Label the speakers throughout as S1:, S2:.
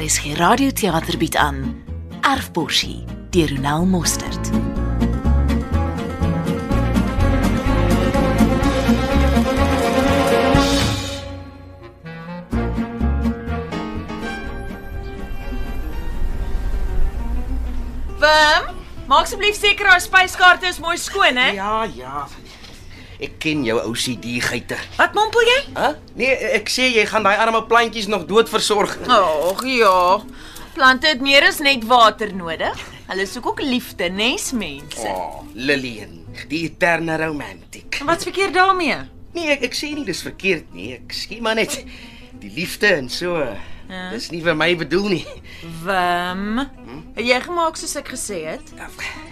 S1: RSG Radioteater bied aan Erfborsie deur Ronel Mostert.
S2: Wim, maak asseblief seker haar spyskaarte is mooi skoon, hè?
S3: Ja, ja. Ek ken jou ou CD geite.
S2: Wat mompel jy?
S3: Hæ? Nee, ek sê jy gaan daai arme plantjies nog dood versorg.
S2: Ag ja. Plante het meer as net water nodig. Hulle soek ook liefde, nes mense.
S3: Oh, Lillian, die eterne romantiek.
S2: Wat's verkeerd daarmee?
S3: Nee, ek, ek sê nie dis verkeerd nie. Ek sê maar net die liefde en so.
S2: Ja.
S3: Dis nie vir my bedoel nie.
S2: Wim, het jy gemaak soos ek gesê het?
S3: Ja,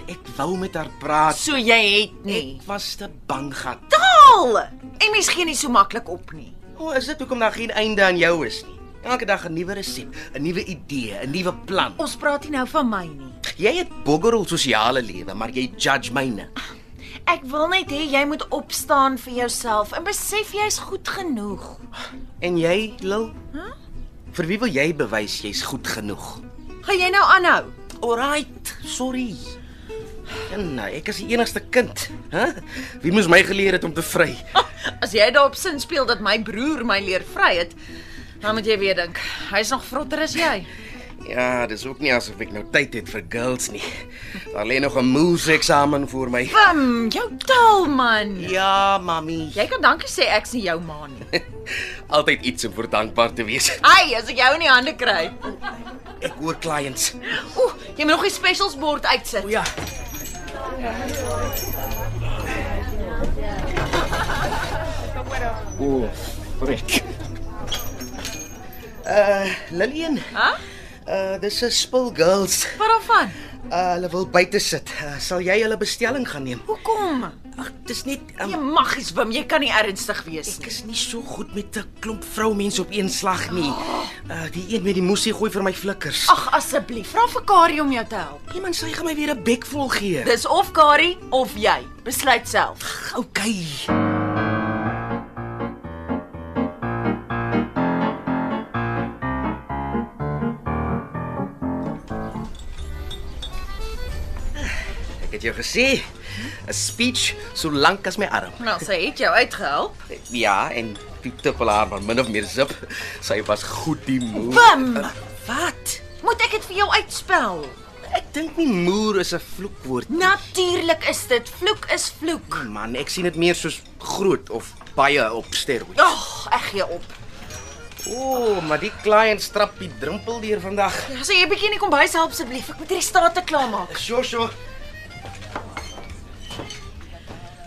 S3: Ek wou met haar praat.
S2: So jy het nie.
S3: Ek was te bang gat.
S2: Taal. En mens gee nie so maklik op nie.
S3: O, is dit hoekom daar geen einde aan jou is nie? Elke dag 'n nuwe resep, 'n nuwe idee, 'n nuwe plan.
S2: Ons praat nie nou van my nie.
S3: Jy het boggerel sosiale lewe, maar jy judge myne.
S2: Ek wil net hê jy moet opstaan vir jouself en besef jy's goed genoeg.
S3: En jy, Lil? Huh? Vir wie wil jy bewys jy's goed genoeg?
S2: Gaan jy nou aanhou?
S3: Alright, sorry. En nou, ek is die enigste kind, hè? Huh? Wie moes my geleer het om te vry?
S2: As jy daarop sin speel dat my broer my leer vry het, dan moet jy weer dink. Hy's nog vrotter as jy.
S3: Ja, dis ook nie asof ek nou tyd het vir girls nie. Daar lê nog 'n moes eksamen voor my.
S2: Bum, jou taal man.
S3: Ja, mami.
S2: Jy kan dankie sê ek's nie jou ma nie.
S3: Altyd iets om voor dankbaar te wees.
S2: Ai, as ek jou in die hande kry.
S3: Ek hoor clients.
S2: Oeh, jy moet nog die specials bord uitsit.
S3: ja. O, frik. Uh, Lillian,
S2: Hæ?
S3: uh dis 'n spul girls.
S2: Wat daarvan?
S3: Uh, hulle wil buite sit. Uh, sal jy hulle bestelling gaan neem?
S2: Hoekom?
S3: Ag, dis net
S2: Jy
S3: um,
S2: mag iets wim, jy kan nie ernstig wees
S3: ek
S2: nie.
S3: is nie so goed met 'n klomp vroumense op een slag nie. Uh, die een met die moesie gooi vir my flikkers.
S2: Ag asseblief, vra vir Kari om jou te help.
S3: iemand sê hy gaan my weer 'n bek vol gee.
S2: Dis of Kari of jy. Besluit self.
S3: Okay. Ek het jou gesê 'n speech so lank as my arm.
S2: Nou, sy het jou uitgehelp.
S3: Ja, en die tippelaar maar min of meer zip. Sy was goed die moer.
S2: Bum.
S3: Wat?
S2: Moet ek dit vir jou uitspel?
S3: Ek dink nie moer is 'n vloekwoord nie.
S2: Natuurlik is dit vloek is vloek.
S3: Man, ek sien dit meer soos groot of baie op steroids.
S2: Ag, ek gee op.
S3: O, maar die kliënt strap die drempel deur vandag.
S2: Ja, sê jy 'n bietjie in die kombuis help asseblief. Ek moet hierdie state klaarmaak.
S3: Shosho.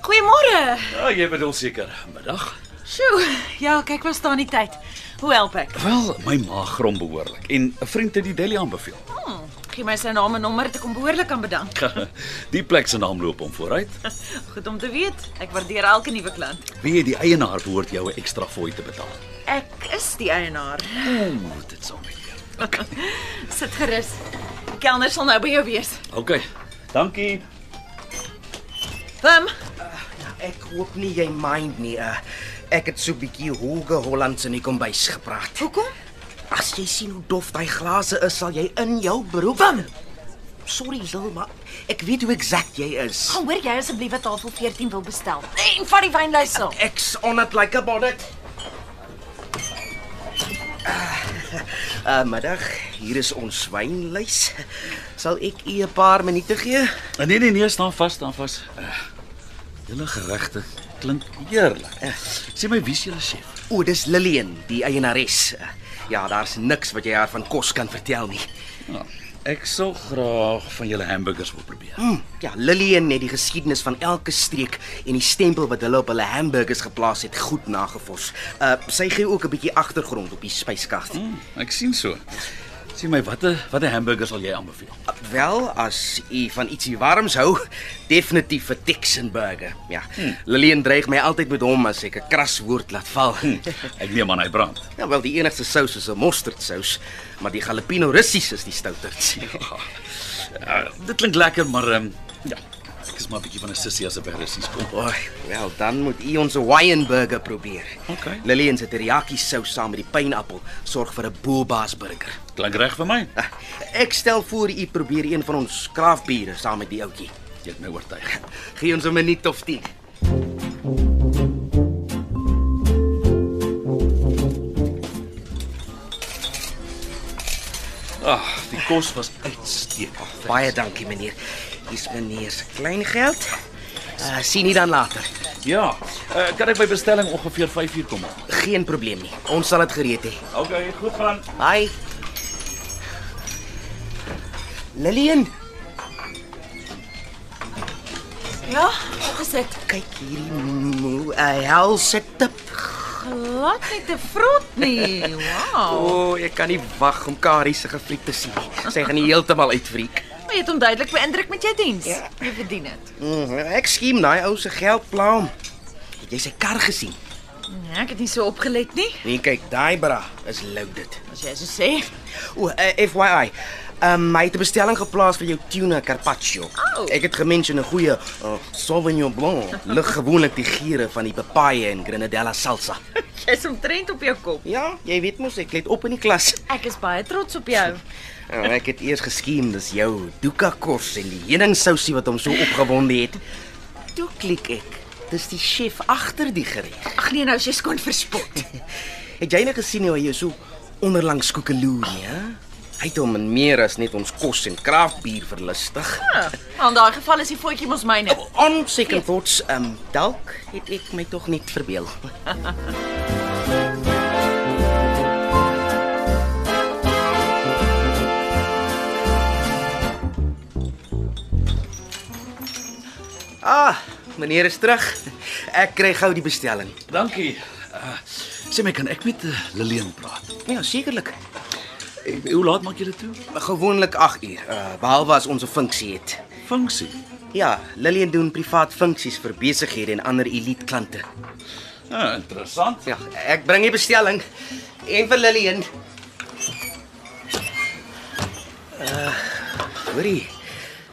S2: Goeiemôre.
S4: Ja, jy bedoel seker middag.
S2: Sjoe. Ja, kyk, was daar nie tyd. Hoe help ek?
S4: Wel, my maag grom behoorlik en 'n vriend het die deli aanbeveel.
S2: Hmm, gee my sy naam en nommer te kom behoorlik aan bedank.
S4: die plek se naam loop om vooruit.
S2: Goed om te weet. Ek waardeer elke nuwe klant.
S4: Wie die eienaar behoort jou 'n ekstra fooi te betaal.
S2: Ek is die eienaar.
S4: Ooh, dit sal my leer.
S2: Sit gerus. Die kelner sal nou by jou wees.
S4: OK. Dankie.
S2: Wim,
S3: Ek hoop nie jy mind nie. Uh, ek het so 'n bietjie hoge Hollands in die kombuis gepraat.
S2: hoekom?
S3: As jy sien hoe dof daai glase is, sal jy in jou broek. Bam. Sorry, Zil, maar ek weet hoe eksakt jy is.
S2: Gaan hoor jy asseblief wat tafel 14 wil bestel. En Nee, vat die wynlys saam.
S3: Ek's on it like a bonnet. Uh, middag, hier is ons wynlys. Sal ek u 'n paar minute gee?
S4: Ah, Nee nee nee, staan vas, staan vas. Uh, julle geregte klink heerlik. Uh, sê my wie's julle chef?
S3: O, dis Lillian, die eienares. Uh, Ja, daar's niks wat jy haar van kos kan vertel nie.
S4: Ja, ek sou graag van julle hamburgers wil probeer.
S3: Mm, ja, Lillian het die geskiedenis van elke streek en die stempel wat hulle op hulle hamburgers geplaas het goed nagevors. Uh sy gee ook 'n bietjie agtergrond op die spyskaart. Mm.
S4: Mm, ek sien so. Sê my watter watter hamburgers sal jy aanbeveel?
S3: Wel, as u van ietsie warms hou, definitief 'n Texan burger. Ja. Mm. Lillian dreig my altyd met hom as ek 'n kras woord laat val. Mm.
S4: Ek neem aan hy brand.
S3: nou wel, die enigste sous is 'n mosterdsous, maar die jalapeno russies is die stouter.
S4: Eh, Ja, dit klink lekker, maar ehm ja, ek is maar 'n bietjie van 'n sissie as 'n verrassings kom.
S3: Oei, wel dan moet u ons Hawaiian burger probeer.
S4: Oké.
S3: Lillian se teriyaki sous saam met die pynappel sorg vir 'n boelbaas burger.
S4: Klink reg vir my.
S3: Ah, Ek stel voor u probeer een van ons kraafbiere saam met die ouetjie.
S4: Jy het my oortuig.
S3: Gee ons 'n minuut of 10.
S4: Ag, die kos was uitstekend.
S3: Baie dankie meneer. Dis meneer se klein geld. Uh, sien u dan later.
S4: Ja, uh, kan ek my bestelling ongeveer 5 uur kom maak?
S3: Geen probleem nie. Ons sal dit gereed hê.
S4: Okay, goed gaan.
S3: Hi. Lillian,
S2: Ja, wat is dit?
S3: kyk hierdie uh, helse tip.
S2: Glad nie te vrot nie.
S3: O,
S2: Wow.
S3: oh, ek kan nie wag om Kari se gefriet te sien nie. Sy gaan nie heeltemal uitfriek.
S2: Maar jy het hom duidelik beïndruk met jou diens. Jy verdien dit.
S3: Mm, ek skiem daai ou se geld plaam. Het jy sy kar gesien?
S2: Nee, ek het nie so opgelet nie.
S3: Nee, kyk, daai bra is loaded.
S2: As jy so sê.
S3: O, uh, FYI. Um, my het 'n bestelling geplaas vir jou tuna carpaccio.
S2: Au.
S3: Ek het gemention 'n goeie uh, Sauvignon Blanc, lig gewoonlik die gure van die papaye en grenadella salsa.
S2: Jy's omtrent op jou kop.
S3: Ja, jy weet mos ek let op in die klas.
S2: Ek is baie trots op jou.
S3: Nou, ek het eers geskiem dis jou doeka kos en die heuningsousie wat hom so opgewonde het. Toe klik ek. Dis die chef agter die gereg.
S2: Ag nee, nou as jy skoon verspot.
S3: Het jy nou gesien hoe hy jou so onderlangs koekeloer nie, hè? Hy het hom in meer as net ons kos en kraafbier verlustig.
S2: Ah, maar in daai geval is die voetjie mos myne.
S3: On second thoughts, ehm um, dalk het ek my tog net verbeel. Ah, meneer is terug. Ek kry gou die bestelling.
S4: Dankie. Uh, sê my kan ek met uh, Lilian praat?
S3: Ja, sekerlik.
S4: Ek, hoe laat maak jy dit toe?
S3: Gewoonlik 8 uur, uh, behalwe as ons 'n funksie het.
S4: Funksie.
S3: Ja, Lillian doen privaat funksies vir besighede en ander elite klante.
S4: Ah, interessant.
S3: Ja, ek bring die bestelling en vir Lillian. Uh, hoorie.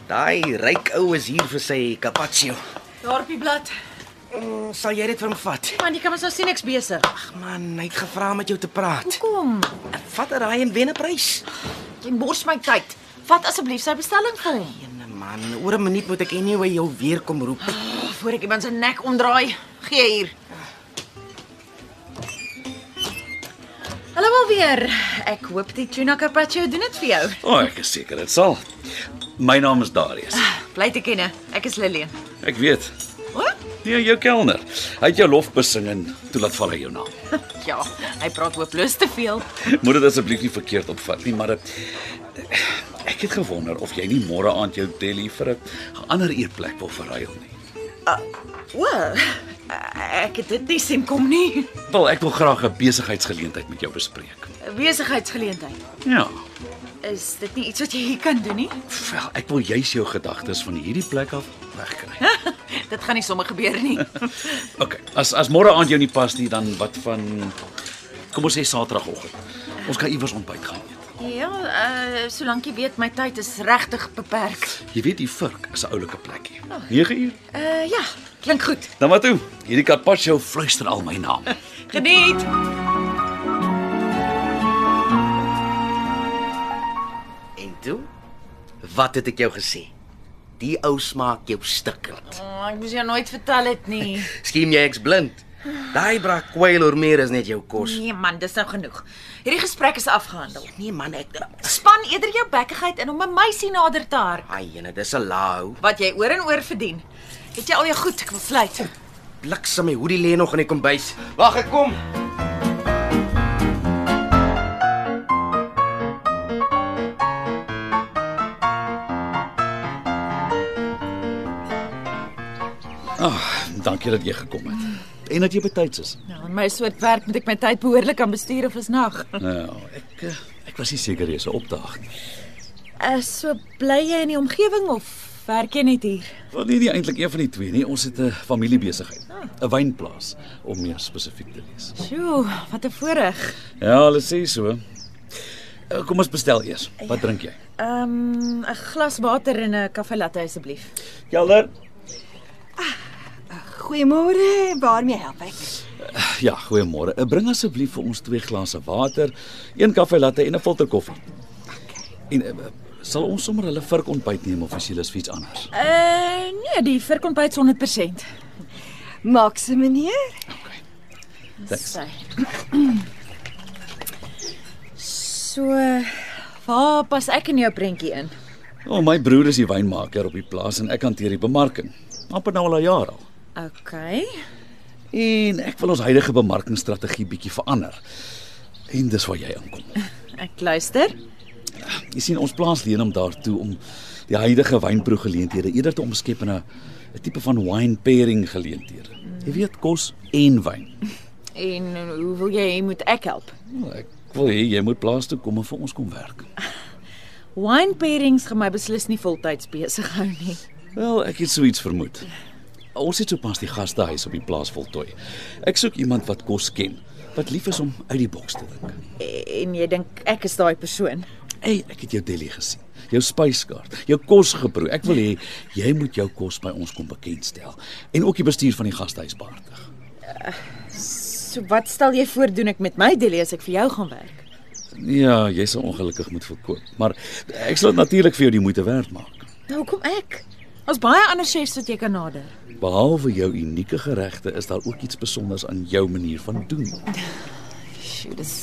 S3: Daai ryk ou is hier vir sy carpaccio.
S2: Dorpie blad.
S3: Mm, sal jy dit vir hom vat?
S2: Man, jy kan mos nou sien ek's besig.
S3: Ag man, hy het gevra om met jou te praat.
S2: Kom,
S3: Vat er daai en wen 'n prys.
S2: jy mors my tyd. Vat asseblief sy bestelling vir hom.
S3: Jene man, oor 'n minuut moet ek anyway jou weer kom roep.
S2: Voordat ek iemand se nek omdraai, gee hier. Hallo alweer. Ek hoop die tuna carpaccio doen dit vir jou.
S4: O, oh, ek is seker dit sal. My naam is Darius.
S2: Bly te kenne. Ek is Lillian.
S4: Ek weet.
S2: O?
S4: Nee, jou kelner. Hy het jou lof besing en toe laat val hy jou naam.
S2: Ja, hy praat hopeloos te veel.
S4: Moet dit asseblief nie verkeerd opvat nie, maar eh, ek het gewonder of jy nie môre aand jou deli vir 'n ander eetplek wil verruil nie.
S2: O, ek het dit nie sien kom nie.
S4: Wel, ek wil graag 'n besigheidsgeleentheid met jou bespreek.
S2: 'n Besigheidsgeleentheid.
S4: Ja.
S2: Is dit nie iets wat jy hier kan doen nie?
S4: Wel, ek wil juis jou gedagtes van hierdie plek af wegkry.
S2: Dit gaan nie sommer gebeur nie.
S4: OK. As as môre aand jou nie pas nie, dan wat van kom ons sê Saterdagoggend. Ons kan iewers ontbyt gaan eet.
S2: Ja, uh solank jy weet my tyd is regtig beperk.
S4: Jy weet die Vurk is 'n oulike plekkie. 9 uur.
S2: Uh ja, klink goed.
S4: Dan maar toe. Hierdie carpaccio fluister al my naam.
S2: Geniet.
S3: En toe? Wat het ek jou gesê? Die ou smaak jou stikkend.
S2: Oh, ek moes jou nooit vertel het nie.
S3: Skien jy ek's blind. Daai bra kwyl oor meer is net jou kos.
S2: Nee man, dis nou genoeg. Hierdie gesprek is afgehandel.
S3: Nee man, ek
S2: Span eerder jou bekkigheid in om 'n meisie nader te hark
S3: Ai, jene, dis 'n laau.
S2: wat jy oor en oor verdien. Het jy al jou goed? Ek wil sluit.
S3: Bliksem, my hoodie lê nog in die kombuis. Wag, ek kom.
S4: Ag, dankie dat jy gekom het. En dat jy betyds is.
S2: Nou, in my soort werk moet ek my tyd behoorlik aan bestuur of is nag.
S4: Nou, ek eh, ek was nie seker jy's 'n opdaag nie.
S2: Uh so bly jy in die omgewing of werk jy net hier?
S4: Wel nee, nie eintlik een van die twee nie. Ons het 'n familiebesigheid, 'n wynplaas om meer spesifiek te wees.
S2: Sjoe, wat 'n voorreg.
S4: Ja, hulle sê so. Eh, Kom ons bestel eers. Wat drink jy?
S2: Ehm um, 'n glas water en 'n koffie latte asseblief.
S4: Kelder,
S5: Ah, Goeiemôre, waarmee help ek?
S4: Ja, goeiemôre. Eh, Bring asseblief vir ons twee glase water, een koffie latte en 'n filter koffie. En eh, eh, sal ons sommer hulle vurk ontbyt neem of as jy lus vir iets anders?
S2: Eh,
S6: Uh nee, die verkompyt 100%.
S5: Maak se meneer?
S4: Thanks.
S5: So,
S2: Waar pas ek in jou prentjie in?
S4: O, oh, my broer is die wynmaker op die plaas en ek hanteer die bemarking. amper nou al 'n jaar al.
S2: OK.
S4: En ek wil ons huidige bemarkingsstrategie bietjie verander. En dis waar jy inkom.
S2: Ek luister.
S4: Jy sien ons plaas leen hom daartoe om die huidige wynproegeleenthede eerder te omskep in 'n 'n tipe van wine pairing geleenthede. Jy weet kos en wyn.
S2: En hoe wil jy hê moet ek help?
S4: Wel, Ek wil hê jy moet plaas toe kom en vir ons kom werk.
S2: Wine pairings gaan my beslis nie voltyds besig hou nie.
S4: Wel, ek het so iets vermoed. Ons het sopas die gastehuis op die plaas voltooi. Ek soek iemand wat kos ken, wat lief is om uit die boks te dink.
S2: En jy dink ek is daai persoon.
S4: Hey, ek het jou deli gesien. Jou spyskaart, jou kos geproe. Ek wil hê jy moet jou kos by ons kom bekendstel en ook die bestuur van die gastehuis behartig.
S2: So wat stel jy voor doen ek met my Delie as ek vir jou gaan werk?
S4: Ja, jy sal ongelukkig moet verkoop, maar ek sal dit natuurlik vir jou die moeite werd maak.
S2: Nou kom ek. Ons baie ander chefs wat jy kan nader.
S4: Behalwe jou unieke geregte is daar ook iets spesiaals aan jou manier van doen.
S2: Sjoe, dis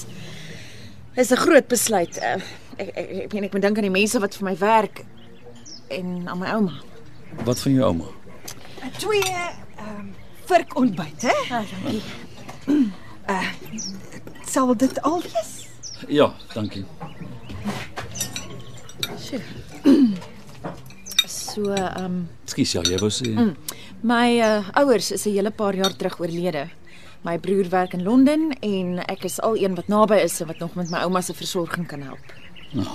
S2: is 'n groot besluit. Uh, ek ek ek meen ek moet dink aan die mense wat vir my werk en aan my ouma.
S4: Wat van jou ouma?
S5: twee ehm um, vurk ontbyt, hè? Ah, dankie. Uh, sal dit al wees?
S4: Ja, dankie.
S2: So, ehm um,
S4: Ekskuus, ja, jy wou sê
S2: my uh, ouers is 'n hele paar jaar terug oorlede. My broer werk in Londen en ek is al een wat naby is en wat nog met my ouma se versorging kan help.
S4: nou,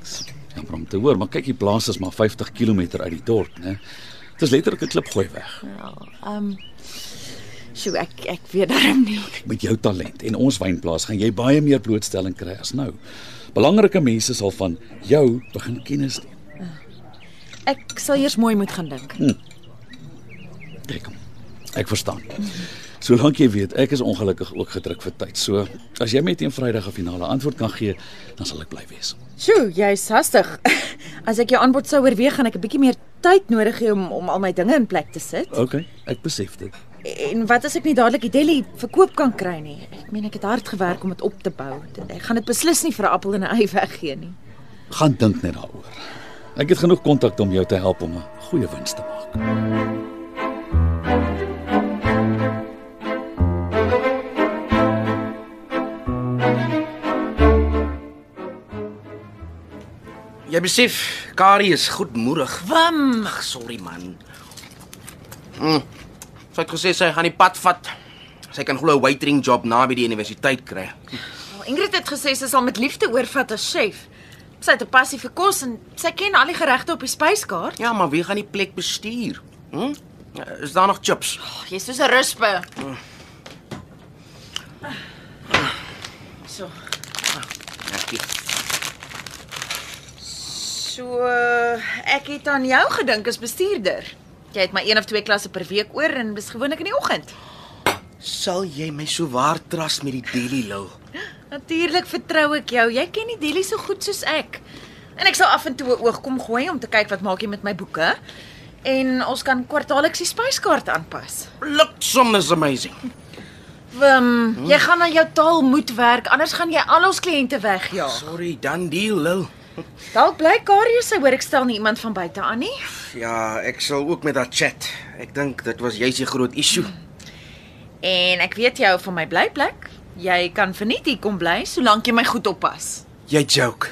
S4: ek's jammer om te hoor, maar kyk, die plaas is maar 50 km uit die dorp, né? Dit is letterlik 'n klipgooi weg.
S2: Ehm um, Sjoe, ek ek weet darm nie.
S4: Kyk, met jou talent en ons wynplaas gaan jy baie meer blootstelling kry as nou. Belangrike mense sal van jou begin kennis neem.
S2: Ek sal eers mooi moet gaan dink.
S4: Kyk. Ek verstaan. Solank jy weet, ek is ongelukkig ook gedruk vir tyd. So, as jy my teen Vrydag 'n finale antwoord kan gee, dan sal ek bly wees.
S2: Sjoe, jy's hastig. As ek jou aanbod sou oorweeg, gaan ek 'n bietjie meer tyd nodig hê om om al my dinge in plek te sit.
S4: OK, ek besef dit.
S2: En wat as ek nie dadelik die deli verkoop kan kry nie? Ek meen ek het hard gewerk om dit op te bou. Dit- Ek gaan dit beslis nie vir 'n appel en 'n ei weggee nie.
S4: Gaan dink net daaroor. Ek het genoeg kontakte om jou te help om 'n goeie wins te maak.
S3: Jy besef, Kari is goedmoedig.
S2: Wam,
S3: Ag, sorry man. Mm. Sy het gesê sy gaan die pad vat. Sy kan glo 'n waitering job naby die universiteit kry.
S2: Ingrid het gesê sy sal met liefde oorvat as chef. Sy het 'n passie vir kos en sy ken al die geregte op die spyskaart.
S3: Ja, maar wie gaan die plek bestuur? Hm? Is daar nog chips?
S2: Ag, jy's soos 'n ruspe. So,
S3: Dankie.
S2: So eh, ek het aan jou gedink as bestuurder. Jy het maar een of twee klasse per week oor en dis gewoonlik in die oggend.
S3: Sal jy my so waar trust met die deli lou?
S2: Natuurlik vertrou ek jou. Jy ken die Delhi so goed soos ek. En ek sal af en toe 'n oog kom gooi om te kyk wat maak jy met my boeke. En ons kan kwartaalliks die spyskaart aanpas.
S3: Bliksem is amazing.
S2: Wim, hmm. jy gaan aan jou taal moet werk, anders gaan jy al ons kliënte wegjaag.
S3: Sorry, dan deal lou.
S2: Dalk bly Karius sy hoor ek stel nie iemand van buite aan nie.
S3: Ja, ek sal ook met haar chat. Ek dink dit was juis die groot issue.
S2: En ek weet jou van my blyplek. Jy kan verniet hier kom bly solank jy my goed oppas.
S3: Jy joke.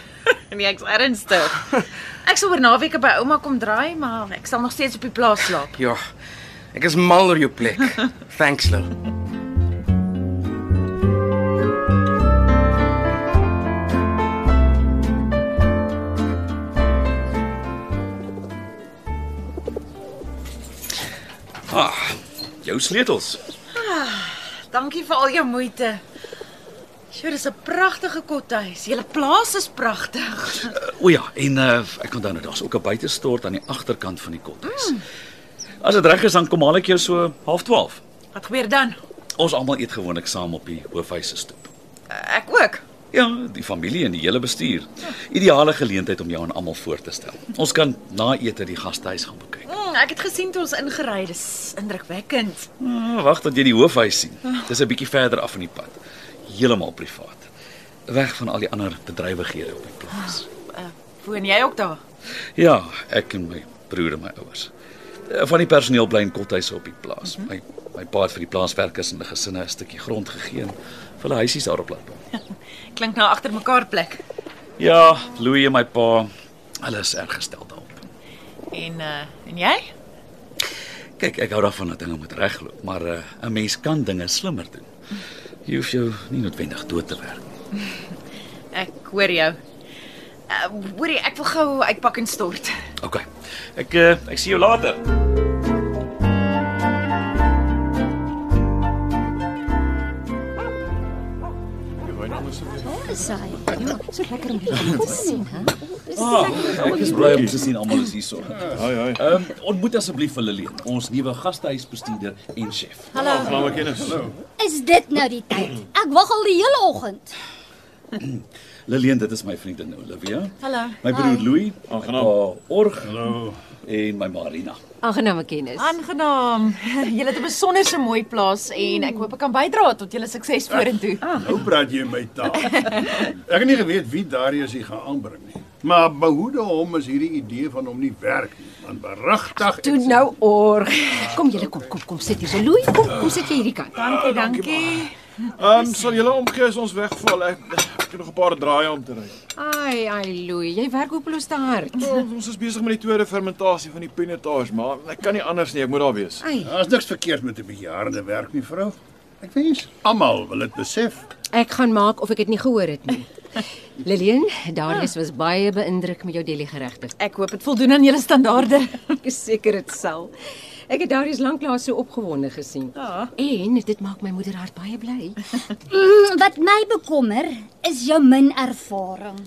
S2: Nee, ek's ernstig. Ek sal oor naweke by ouma kom draai, maar ek sal nog steeds op die plaas slaap.
S3: Ja. Ek is mal oor jou plek. Thanks, Lou.
S4: Ah, jou sleutels.
S2: Dankie vir al jou moeite. Sjoe, dis 'n pragtige kothuis. Julle plaas is pragtig.
S4: eh, O ja, en uh, ek onthou nou daar's ook 'n buitestort aan die agterkant van die kothuis. As dit reg is dan kom haal ek jou so 0.30.
S2: Wat gebeur dan?
S4: Ons almal eet gewoonlik saam op die hoofhuis se stoep.
S2: Ek ook.
S4: Ja, die familie en die hele bestuur. Ideale geleentheid om jou aan almal voor te stel. Ons kan na ete die gastehuis gaan bekyk.
S2: Mm, ek het gesien toe ons ingery, dis indrukwekkend.
S4: Ah, Wag tot jy die hoofhuis sien. Dis 'n bietjie verder af van die pad. Heeltemal privaat. Weg van al die ander bedrywighede op die plaas.
S2: Eh, Woon jy ook daar?
S4: Ja, ek en my broer en my ouers. Eh, Van die personeel bly in kothuise op die plaas. My my pa het vir die plaaswerkers en die gesinne 'n stukkie grond gegee en vir hulle huisies daarop laat bou.
S2: Klink nou agter mekaar plek.
S4: Ja, Louis en my pa, hulle is erg gestel daarop.
S2: En uh en jy?
S4: Kyk, ek hou daarvan dat dinge moet regloop, maar eh, 'n mens kan dinge slimmer doen. Jy hoef jou nie noodwendig dood te werk. nie.
S2: Ek hoor jou. Uh, hoorie, ek wil gou uitpak en stort.
S4: OK. Ek eh, ek sien jou later.
S7: Ja, So lekker om julle te sien, hè?
S4: Ah, ek is bly om te sien almal is hierso.
S8: Hoi hoi.
S4: Ehm ontmoet asseblief vir Lilian, ons nuwe gastehuisbestuurder en chef.
S8: Slaam ek kennis. Hallo.
S9: Is dit nou die tyd? Ek wag al die hele oggend.
S4: Lilian, dit is my vriendin Olivia.
S2: Hallo.
S4: My broer Louis, my
S8: Aangenaam.
S4: pa Org
S8: Hallo.
S4: en my Marina.
S6: Aangename kennis.
S10: Aangenaam. Julle het 'n besonderse mooi plaas en ek hoop ek kan bydra tot julle sukses vorentoe.
S2: Ah,
S8: Nou praat jy my taal. Ek het nie geweet wie Darius hier gaan aanbring nie. Maar behoede hom is hierdie idee van hom nie werk nie. Want berigtig
S6: Toe nou oor. Kom julle kom kom kom sit hier. So Louis, kom kom sit jy hierdie kant.
S2: Dankie, dankie.
S11: Ehm um, sal julle omgee as ons wegval. Ek ek het nog 'n paar draaie om te ry.
S6: Ai ai Louis, jy werk hopeloos te hard.
S11: Oh, ons is besig met die tweede fermentasie van die peanutaars, maar ek kan nie anders nie, ek moet daar wees.
S6: Ai,
S8: Daar's niks verkeerd met 'n bietjie harde werk nie, vrou. Ek wens almal wil dit besef.
S6: ek gaan maak of ek dit nie gehoor het nie. Lillian, Darius was baie beïndruk met jou deli geregte.
S10: Ek hoop dit voldoen aan julle standaarde.
S6: Ek is seker dit sal. Ek het Darius lanklaas so opgewonde gesien. Ja. En dit maak my moeder hart baie bly.
S9: Mm, wat my bekommer is jou min ervaring.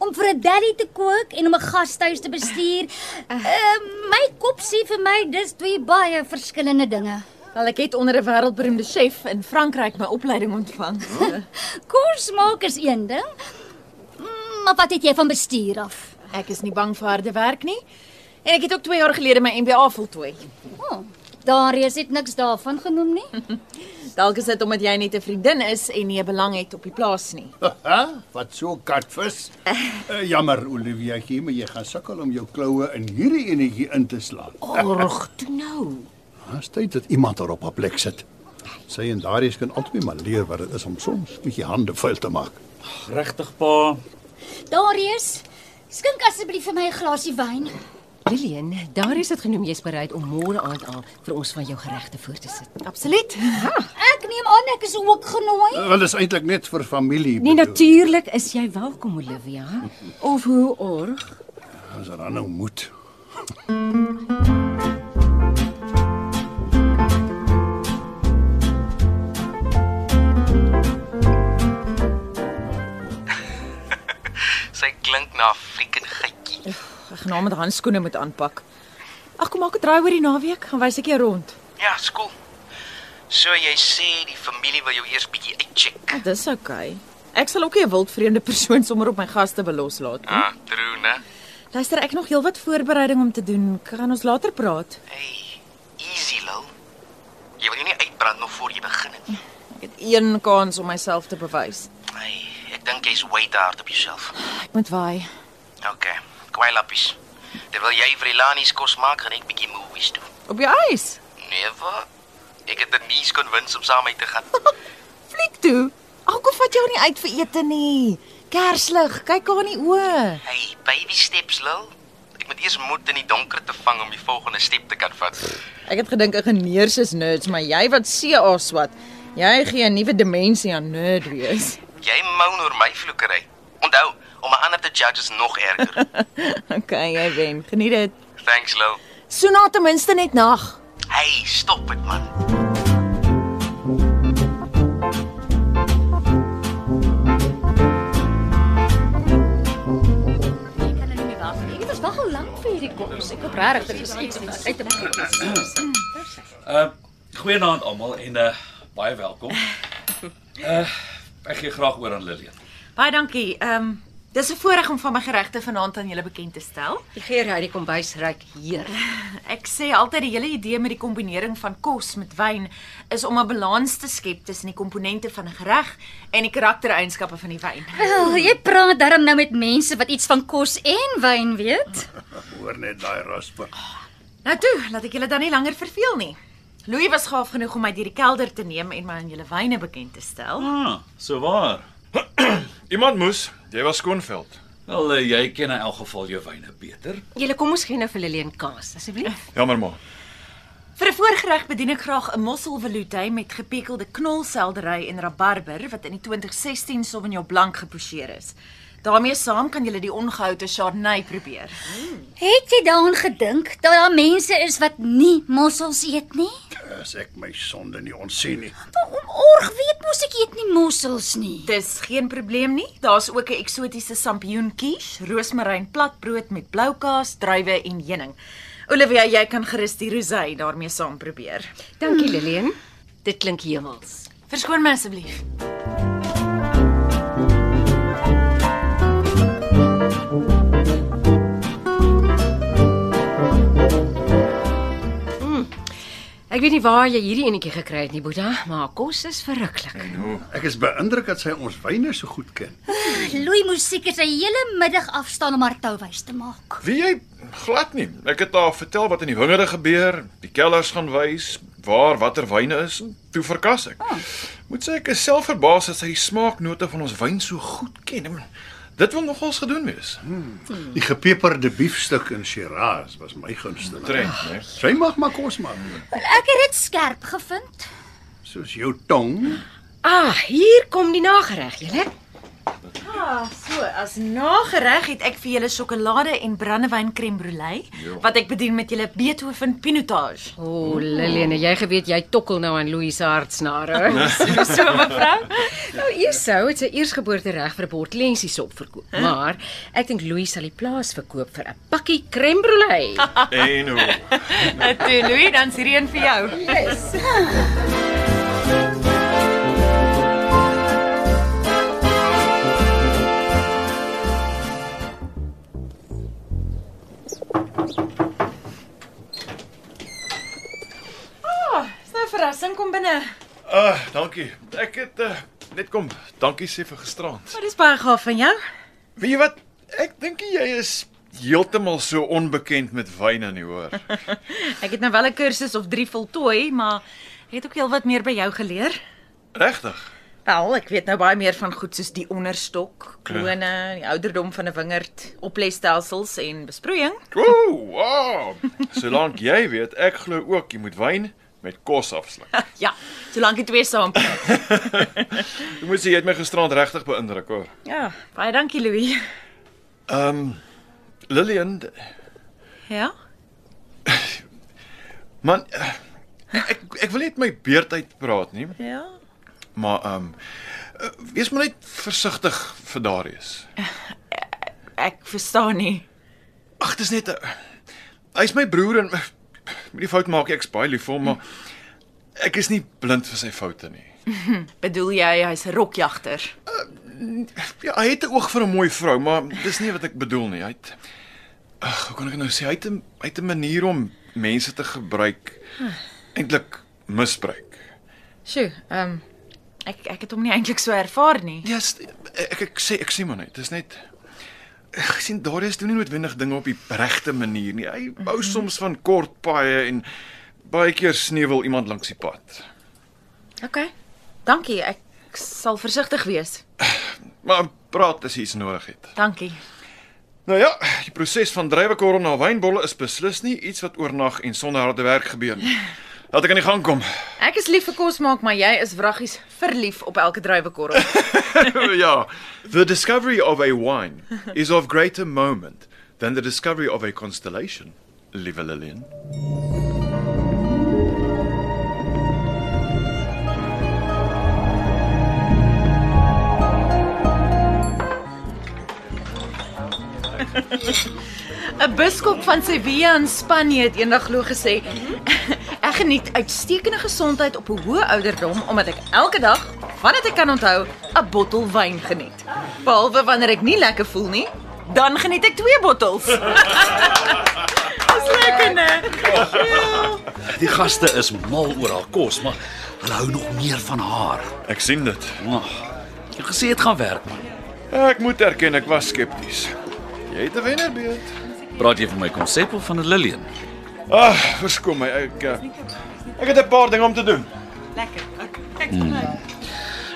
S9: Om vir 'n daddy te kook en om 'n gastehuis te bestuur, uh, my kop sê vir my dis twee baie verskillende dinge.
S10: Wel ek het onder 'n wêreldberoemde chef in Frankryk my opleiding ontvang.
S9: Kos maak is een ding, mm, maar wat het jy van bestuur af?
S10: Ek is nie bang vir harde werk nie. En ek het ook 2 jaar gelede my MBA voltooi.
S9: Oh, Darius het niks daarvan genoem nie.
S10: Dalk is dit omdat jy net 'n vriendin is en nie 'n belang het op die plaas nie.
S8: Haha, wat so katvis. Uh, jammer Olivia, ek hier, maar jy gaan sukkel om jou kloue in hierdie enetjie in te slaan.
S6: Org, toe nou.
S8: Daar's Ah, tyd dat iemand daar op haar plek sit. Sy en Darius kan altyd maar leer wat dit is om soms bietjie hande vuil te maak.
S4: Regtig pa?
S9: Darius, skink asseblief vir my 'n glasie wyn.
S6: Lillian, Darius het genoem jy's bereid om môre aand al vir ons van jou geregte voor te sit.
S10: Absoluut.
S9: Ek neem aan ek is ook genooi.
S8: Uh, Wel dis eintlik net vir familie.
S6: Nee,
S8: bedoel.
S6: natuurlik is jy welkom, Olivia. Of hoe org?
S8: As er dan nou moet.
S3: Sy klink na 'n flieken gietjie.
S2: Ek gaan hom met handskoene moet aanpak. Ag kom maak 'n draai oor die naweek, gaan wys ek jou rond.
S3: Ja, skool. So jy sê die familie wil jou eers bietjie uitcheck.
S2: Ah, dis oukei. Okay. Ek sal ook nie 'n wildvreemde persoon sommer op my gaste belos laat nie.
S3: Ah, true, né?
S2: Luister, ek het nog heelwat voorbereiding om te doen. Kan ons later praat?
S3: Hey, easy lou. Jy wil jou nie uitbrand nog voor jy begin het nie.
S2: Ek het een kans om myself te bewys.
S3: Hey, ek dink jy's way te hard op jouself.
S2: Ek moet waai.
S3: OK, kwaai lappies. Terwyl jy vir Elanies kos maak, gaan ek bietjie movies toe.
S2: Op jou ys.
S3: Nee, wat? Ek het dit nie kon wins om saam uit te gaan.
S2: Fliek toe. Ag kom vat jou nie uit vir ete nie. Kerslig, kyk haar in die oë.
S3: Hey, baby steps lou. Ek moet eers moed in die donker te vang om die volgende stap te kan vat.
S2: Ek het gedink ingenieurs is nerds, maar jy wat CA swat, jy gee 'n nuwe dimensie aan nerd wees.
S3: Jy mou oor my vloekery. Onthou, om 'n ander te judge is nog erger.
S2: Okay, jy wen. Geniet dit.
S3: Thanks, Lou.
S10: So na ten minste net nag.
S3: Hey, stop dit man.
S9: Ek het ons wag al lank vir hierdie
S12: Ek hoop regtig dit is iets wat uit te maak.
S4: Uh goeienaand almal en uh baie welkom. Uh ek gee graag oor aan Lillian.
S2: Baie dankie. Ehm um, dis 'n voorreg om van my geregte vanaand aan julle bekend te stel.
S6: Die geur uit die kombuis ruik heer.
S2: Ek sê altyd die hele idee met die kombinering van kos met wyn is om 'n balans te skep tussen die komponente van 'n gereg en die karaktereienskappe van die wyn.
S9: Wel, Oh, jy praat darm nou met mense wat iets van kos en wyn weet.
S8: Hoor net daai rasper.
S2: Nou toe, laat ek julle dan nie langer verveel nie. Louis was gaaf genoeg om my deur die kelder te neem en my aan julle wyne bekend te stel.
S4: Ah, so waar.
S11: Iemand moes, jy was skoonveld.
S4: Wel, eh, jy ken in elk geval jou wyne beter.
S6: Julle kom ons gee nou vir Lillian kaas asseblief.
S11: Jammer maar.
S2: Vir 'n voorgereg bedien ek graag 'n mosselveloutei met gepekelde knolseldery en rabarber wat in die 2016 Sauvignon Blanc geposeer is. daarmee saam kan jy die ongehoude Chardonnay probeer.
S9: Het jy daaraan gedink dat daar mense is wat nie mossels eet nie?
S8: eh, As ek my sonde nie ontsien nie.
S9: Org weet mos ek eet nie mossels nie.
S2: Dis geen probleem nie. Daar's ook 'n eksotiese sampioen quiche, roosmaryn platbrood met bloukaas, druiwe en heuning. Olivia, jy kan gerus die rosé daarmee saam probeer.
S6: Dankie Lillian. Dit klink hemels.
S2: Verskoon my asseblief.
S6: Ek weet nie waar jy hierdie enetjie gekry het nie, Boeta, maar haar kos is verruklik.
S8: Nou, ek is beïndruk dat sy ons wyne so goed ken.
S9: Louis moes seker sy hele middag afstaan om haar touwys te maak.
S11: Wie jy glad nie. Ek het haar vertel wat in die wingerde gebeur, die kellers gaan wys, waar watter wyne is. en Toe verkas ek. Moet sê ek is self verbaas dat sy die smaaknote van ons wyn so goed ken. Ek bedoel, Dit wil nogals gedoen wees.
S8: Die gepeperde biefstuk in Shiraz was my gunsteling.
S11: Trend, né?
S8: Sy mag maar kos maak,
S9: Wel, ek het dit skerp gevind.
S8: soos jou tong.
S6: Ah, hier kom die nagereg, julle.
S2: Ah, so as nagereg het ek vir julle sjokolade en brandewyn crème brûlée
S6: Ja.
S2: wat ek bedien met julle Beethoven pinotage.
S6: O, Lillian, het jy geweet jy tokkel nou aan Louis se hartsnare.
S2: So, so, mevrou.
S6: Nou Esau het sy eersgeboortereg vir 'n bord lensies op verkoop, maar ek dink Louis sal die plaas verkoop vir 'n pakkie crème brûlée.
S11: En hoe?
S2: Toe Louis, dan's hierdie een vir jou.
S6: Yes.
S2: Ah, dis nou 'n verrassing kom binne.
S11: Ah, uh, dankie. Ek het uh, net kom dankie sê vir gisterand.
S2: Maar dis baie gaaf van jou.
S11: Weet jy wat? Ek dink jy is heeltemal so onbekend met wyn en hoor.
S2: Ek het nou wel 'n kursus of 3 voltooi, maar ek het ook heelwat meer by jou geleer.
S11: Regtig?
S2: Wel, ek weet nou baie meer van goed soos die onderstok, klone, die ouderdom van 'n wingerd, oplesstelsels en besproeiing.
S11: Ooh, wow. Solank jy weet, ek glo ook jy moet wyn met kos afsluk.
S2: Ja, solank die twee saam.
S11: Ek moet sê jy het my gisterand regtig beïndruk hoor.
S2: Ja, baie dankie Louis.
S11: Ehm um, Lillian, d-
S2: Ja.
S11: man eh, ek ek wil net my beurt uit praat nie,
S2: Ja.
S11: maar ehm um, wees maar net versigtig vir Darius.
S2: Ek verstaan nie.
S11: Ag, dis net 'n Hy's my broer en eh, moenie fout maak nie, ek's baie lief vir hom,
S2: Hm.
S11: maar ek is nie blind vir sy foute nie.
S2: Bedoel jy hy's 'n rokjagter?
S11: Ja, hy het 'n oog vir 'n mooi vrou, maar dis nie wat ek bedoel nie. Hy het Ag, hoe kan ek nou sê hy het 'n hy het 'n manier om mense te gebruik, eintlik misbruik.
S2: Sjoe, ehm um, ek ek het hom nie eintlik so ervaar nie.
S11: Ja, yes, ek ek sê ek sê maar net, dis net ek sien Darius doen nie noodwendig dinge op die regte manier nie. Hy bou soms van kort paaie en baie keer sneuwel iemand langs die pad.
S2: OK. Dankie. Ek sal versigtig wees.
S11: Maar praat as jy iets nodig het.
S2: Dankie.
S11: Nou ja, die proses van druiwekorrel na wynbolle is beslis nie iets wat oornag en sonder harde werk gebeur nie. Laat ek aan die gang kom.
S2: Ek is lief vir kos maak, maar jy is wraggies verlief op elke druiwekorrel.
S11: ja, the discovery of a wine is of greater moment than the discovery of a constellation, liewe Lillian.
S2: 'n Biskop van Sevilla in Spanje het eendag glo gesê: "Ek geniet uitstekende gesondheid op 'n hoë ouderdom omdat ek elke dag, wanneer ek kan onthou, 'n bottel wyn geniet. Behalwe wanneer ek nie lekker voel nie, dan geniet ek twee bottels." Dis lekker, né?
S4: Eh, Die gaste is mal oor haar kos, maar hulle hou nog meer van haar.
S11: Ek sien dit.
S4: Ag. Jy gesê dit gaan werk, man.
S11: Ek moet erken ek was skepties. Jy het 'n wennerbeeld.
S4: Praat jy van my konsep of van 'n Lillian?
S11: Ag, verskoon my. Ek eh, ek het 'n paar dinge om te doen.
S2: Lekker. Okay.
S4: Hmm.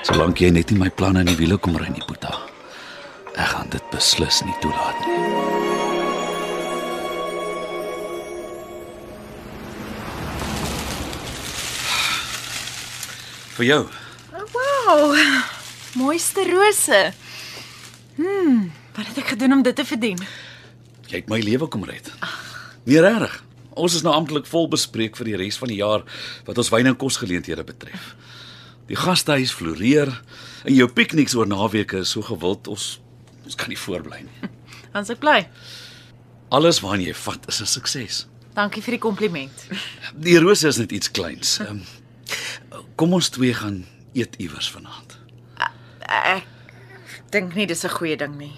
S4: Solank jy net nie my planne in die wiele kom ry nie, Boeta. Ek gaan dit beslis nie toelaat nie. Vir jou.
S2: Wow. Mooiste rose. Hm, wat het ek gedoen om dit te verdien?
S4: Jy het my lewe kom red. Nee, regtig. Ons is nou amptelik vol bespreek vir die res van die jaar wat ons wyn en kosgeleenthede betref. Die gastehuis floreer en jou pikniks oor naweke is so gewild ons ons kan nie voorbly nie.
S2: Ons ek bly.
S4: Alles waarna jy vat is 'n sukses.
S2: Dankie vir die kompliment.
S4: Die rose is net iets kleins.
S2: Hm.
S4: Um, kom ons twee gaan eet iewers vanaand.
S2: Ek dink nie dis 'n goeie ding nie.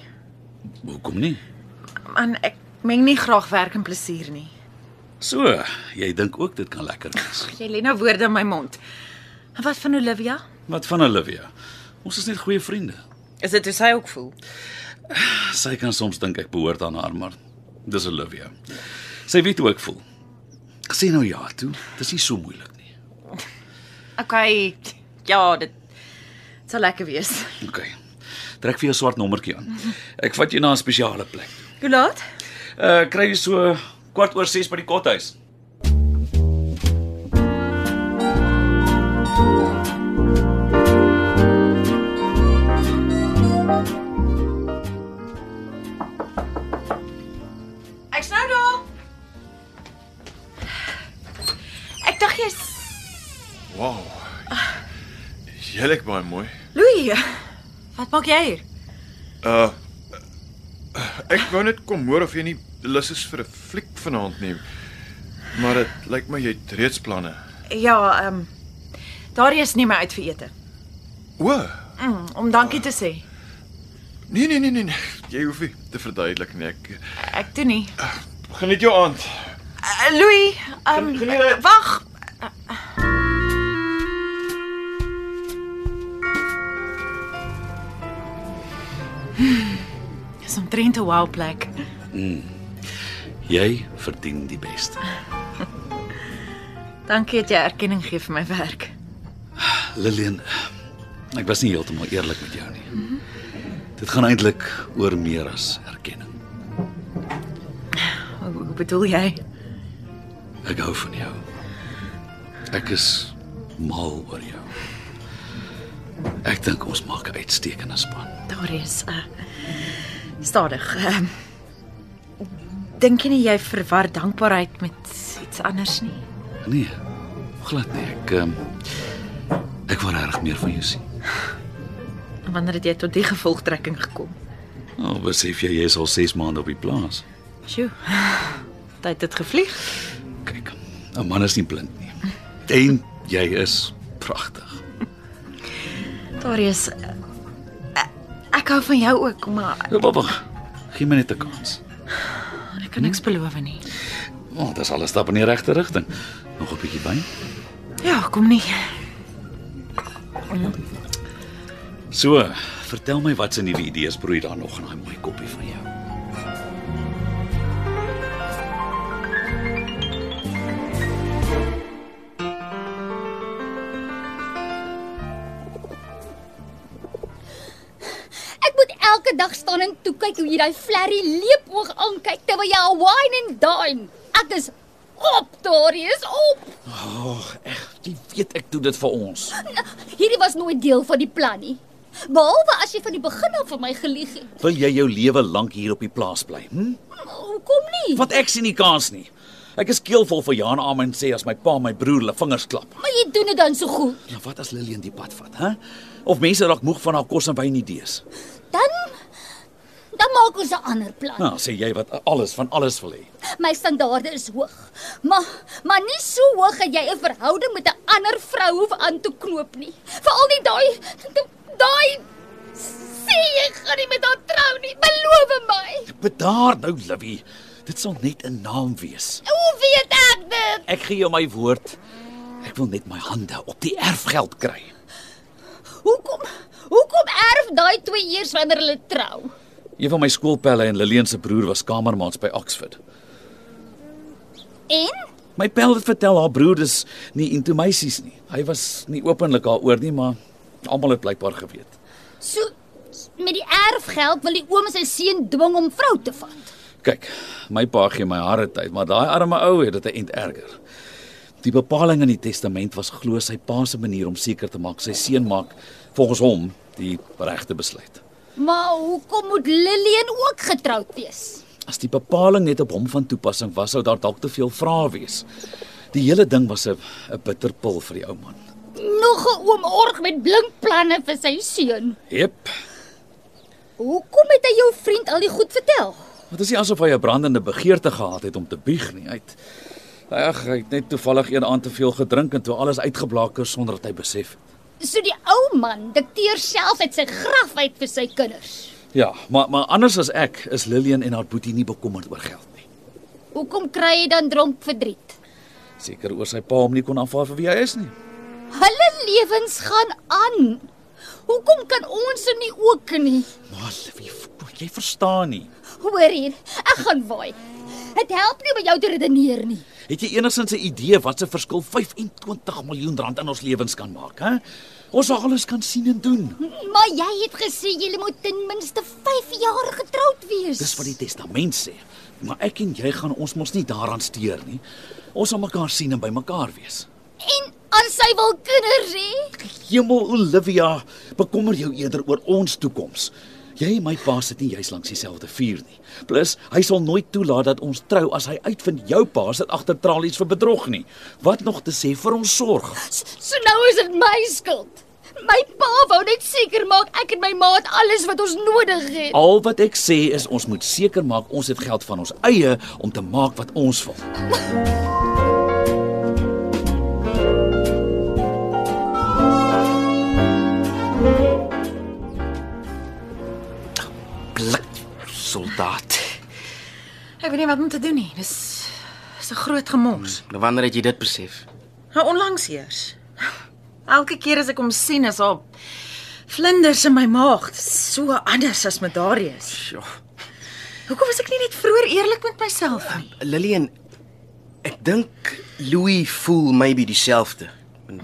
S4: Hoekom nie?
S2: Man, ek meng nie graag werk en plesier nie.
S4: So, jy dink ook dit kan lekker wees.
S2: Jy lê nou woorde in my mond. En wat van Olivia?
S4: Wat van Olivia? Ons is net goeie vriende.
S2: Is dit hoe sy ook voel?
S4: Sy kan soms dink ek behoort aan haar, maar dis Olivia. Sy weet hoe ek voel. Ek sê nou ja toe. Dis nie so moeilik nie.
S2: Okay, ja, dit dit sal lekker wees.
S4: OK. Trek vir jou swart nommertjie aan. Ek vat jou na 'n spesiale plek.
S2: Hoe laat?
S4: Uh kry jy so kwart oor 6 by die kothuis.
S2: Ek's nou daar. Ek dink jy's
S11: Wow. Jy lyk baie mooi.
S2: Louis. Wat maak jy hier?
S11: Uh ek wou net kom hoor of jy nie lus is vir 'n fliek vanaand nie. Maar dit lyk my jy het reeds planne.
S2: Ja, ehm um, Darie is nie my uit vir ete.
S11: O,
S2: Mm, om dankie te sê.
S11: nee nee nee nee, nee. jy hoef nie te verduidelik nie. Ek
S2: Ek doen nie.
S11: geniet jou aand.
S2: Uh, Louis, ehm um, wag. Hmm, Dis omtrent 'n wow plek.
S4: Mm. Jy verdien die beste.
S2: Dankie dat jy erkenning gee vir my werk.
S4: Lillian, ek was nie heeltemal eerlik met jou nie. Dit gaan eintlik oor meer as erkenning.
S2: Hoe hoe bedoel jy?
S4: Ek hou van jou. Ek is mal oor jou. Ek dink ons maak 'n uitstekende span.
S2: Daar is uh, stadig. Uh, Dink jy nie jy verwar dankbaarheid met iets anders nie?
S4: Nee. Glad nie. Ek um, ek wil regtig meer van jou sien.
S2: En Wanneer het jy tot die gevolgtrekking gekom?
S4: Nou, oh, besef jy jy is al 6 maande op die plaas.
S2: Sjoe. Tyd het gevlieg.
S4: 'n Man is nie blind nie. En jy is pragtig.
S2: Daar is eh, ek hou van jou ook, maar
S4: Baba, Ja, gee my net 'n kans.
S2: ek kan niks beloof nie.
S4: Want oh, dis al 'n stap in die regte rigting. Nog 'n bietjie wyn.
S2: Ja, kom nie.
S4: So, vertel my wat se nuwe idees broei daar nog in daai mooi koppie van jou.
S9: Ek moet elke dag staan en toe kyk hoe jy daai flerry leepoog aankyk terwyl jy al wine and dine. Ek is op, Darius, op.
S4: Ag, oh, ek jy weet ek doen dit vir ons.
S9: Hierdie was nooit deel van die plan nie. Behalwe as jy van die begin af vir my gelieg het.
S4: Wil jy jou lewe lank hier op die plaas bly? Hm?
S9: Hoekom nie?
S4: Want ek sien nie kans nie. Ek is keelvol vir Jan Amen en sê as my pa my broer hulle vingers klap.
S9: Maar jy doen dit dan so goed.
S4: Nou wat as Lillian die pad vat, hè? Of mense raak moeg van haar kos en wyn idees.
S9: Dan Dan maak ons 'n ander plan.
S4: Nou, sê jy wat alles van alles wil hê.
S9: My standaarde is hoog, maar maar nie so hoog dat jy 'n verhouding met 'n ander vrou hoef aan te knoop nie. Veral nie daai daai sê jy gaan nie met haar trou nie. Beloof my.
S4: Bedaar nou, Livy. Dit sal net 'n naam wees.
S9: Hoe weet ek dit?
S4: Ek gee jou my woord. Ek wil net my hande op die erfgeld kry.
S9: Hoekom hoekom erf daai twee eers wanneer hulle trou?
S4: Een van my skoolpelle en Lillian se broer was kamermaats by Oxford.
S9: En
S4: My pel het vertel haar broer is nie into meisies nie. Hy was nie openlik daaroor nie, maar almal het blykbaar geweet.
S9: so met die erfgeld wil die oom sy seun dwing om vrou te vat.
S4: Kyk, my pa gee my harde tyd, maar daai arme ou het dit 'n end erger. Die bepaling in die testament was glo sy pa se manier om seker te maak sy seun maak volgens hom die regte besluit.
S9: Maar hoekom moet Lillian ook getroud wees?
S4: As die bepaling net op hom van toepassing was, sou daar dalk te veel vrae wees. Die hele ding was 'n 'n bitterpil vir die ou man.
S9: Nog 'n oom org met blink planne vir sy seun.
S4: Jep.
S9: Hoekom het hy jou vriend al die goed vertel?
S4: Dit is nie asof hy 'n brandende begeerte gehad het om te bieg nie. Hy het ag, hy het net toevallig een aand te veel gedrink en toe alles uitgeblaker sonder dat hy besef het.
S9: So die ou man dikteer self uit sy graf uit vir sy kinders.
S4: Ja, maar maar anders as ek is Lillian en haar boetie nie bekommerd oor geld nie.
S9: Hoekom kry hy dan dronk verdriet?
S4: Seker oor sy pa hom nie kon aanvaar vir wie hy is nie.
S9: Hulle lewens gaan aan. Hoekom kan ons hom nie ook nie?
S4: Maar Livie, jy verstaan nie.
S9: Hoor hier, ek gaan waai. Dit help nie om jou te redeneer nie.
S4: Het jy enigsins 'n idee wat se verskil 25 miljoen rand in ons lewens kan maak, hè? Ons sal alles kan sien en doen.
S9: Maar jy het gesê jy moet ten minste 5 jaar getroud wees.
S4: Dis wat die testament sê. Maar ek en jy gaan ons mos nie daaraan steur nie. Ons sal mekaar sien en by mekaar wees.
S9: En as sy wil kinders hê,
S4: Hemel Olivia, bekommer jou eerder oor ons toekoms. Jy en my pa sit nie juis langs dieselfde vuur nie. Plus, hy sal nooit toelaat dat ons trou as hy uitvind jou pa sit agter tralies vir bedrog nie. Wat nog te sê vir ons sorg?
S9: so nou is dit my skuld. My pa wou net seker maak ek en my ma het alles wat ons nodig het.
S4: Al wat ek sê is ons moet seker maak ons het geld van ons eie om te maak wat ons wil.
S13: Blik soldaat.
S6: Ek weet nie wat om te doen nie. Dis is 'n groot gemors.
S3: Nou wanneer het jy dit besef?
S6: Nou onlangs eers. Elke keer as ek hom sien, is haar vlinders in my maag. Dis so anders as met Darius.
S3: Sjoe.
S6: Hoekom was ek nie net vroeër eerlik met myself nie?
S3: Lillian, ek dink Louis voel maybe dieselfde. En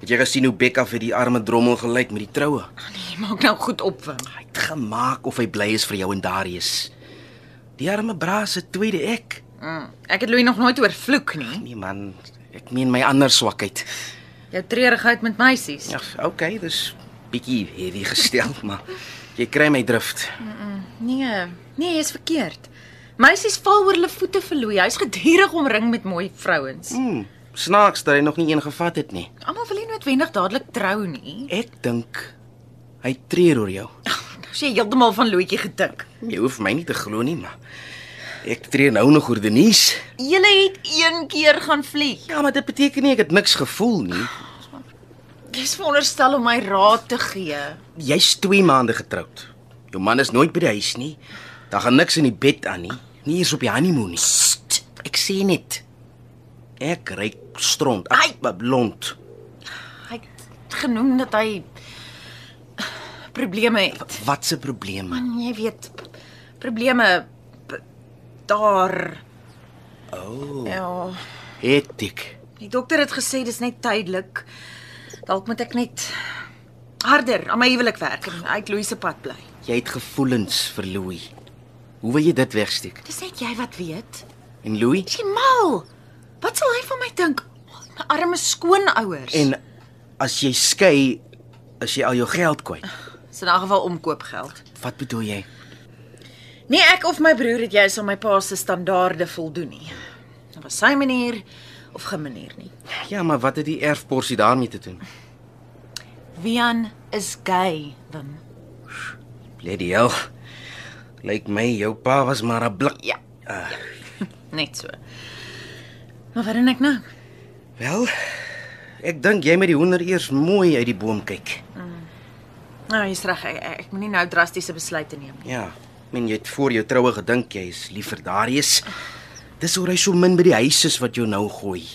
S3: Het jy gesien hoe Becca vir die arme drommel gelyk met die troue?
S6: Jy maak nou goed op, Wim.
S3: Hy het gemaak of hy bly is vir jou en Darius. Die arme bra se tweede ek.
S6: Mm, ek het Louis nog nooit oorvloek nie.
S3: Nee man, ek meen my ander swakheid.
S6: Jou treurigheid met meisies.
S3: Ja, okay, dis bietjie heavy gestel, maar jy kry my drift.
S6: Nee, nee, jy's verkeerd. Meisies val oor hulle voete vir Louis. Hy's gedurig omring met mooi vrouens.
S3: Mm, snaaks dat hy nog nie een gevat het nie.
S6: Almal wil nie noodwendig dadelik trou nie.
S3: Ek dink hy treur oor jou.
S6: Nou sê jy heeltemal van Louwetjie gedink.
S3: Jy hoef my nie te glo nie, maar ek treur nou nog oor Denise.
S6: Julle het een keer gaan vlieg.
S3: Ja, maar dit beteken nie ek het niks gevoel nie.
S6: Jy's veronderstel om my raad te gee.
S3: Jy's 2 maande getroud. Jou man is nooit by die huis nie. Daar gaan niks in die bed aan nie. Nie eers op die honeymoon nie. Sst, ek sê net. Ek ry stront, ek blond.
S6: Hy het genoem dat hy probleme het.
S3: Wat se probleme?
S6: Man, jy weet p- probleme p- daar.
S3: O, oh,
S6: Ja,
S3: het ek.
S6: die dokter het gesê dis net tydelik. Dalk moet ek net harder aan my huwelik werk en uit Louise se pad bly.
S3: Jy het gevoelens vir Louis. Hoe wil jy dit wegsteek?
S6: Dis net jy wat weet.
S3: En Louis
S6: Dis jy mal. Wat sal hy van my dink? My arme skoonouers.
S3: en as jy skei, as jy al jou geld kwyt.
S6: Dis in 'n geval omkoopgeld.
S3: Wat bedoel jy?
S6: Nee, ek of my broer het juis aan my pa se standaarde voldoen nie. Dit was sy manier of geen manier nie.
S3: Ja, maar wat het die erfporsie daarmee te doen?
S6: Wian is gay, Wim.
S3: Lady Hel. Lyk my jou pa was maar 'n blik. Ja. Uh,
S6: Net so. Maar wat doen ek nou?
S3: Wel, ek dink jy moet die hoender eers mooi uit die boom kyk.
S6: Nou, jy's reg. Ek, ek- ek moenie nou drastiese besluite neem nie.
S3: Ja, men jy het voor jou troue gedink jy is lief vir Darius. Dis hoor hy so min by die huis is wat jou nou gooi.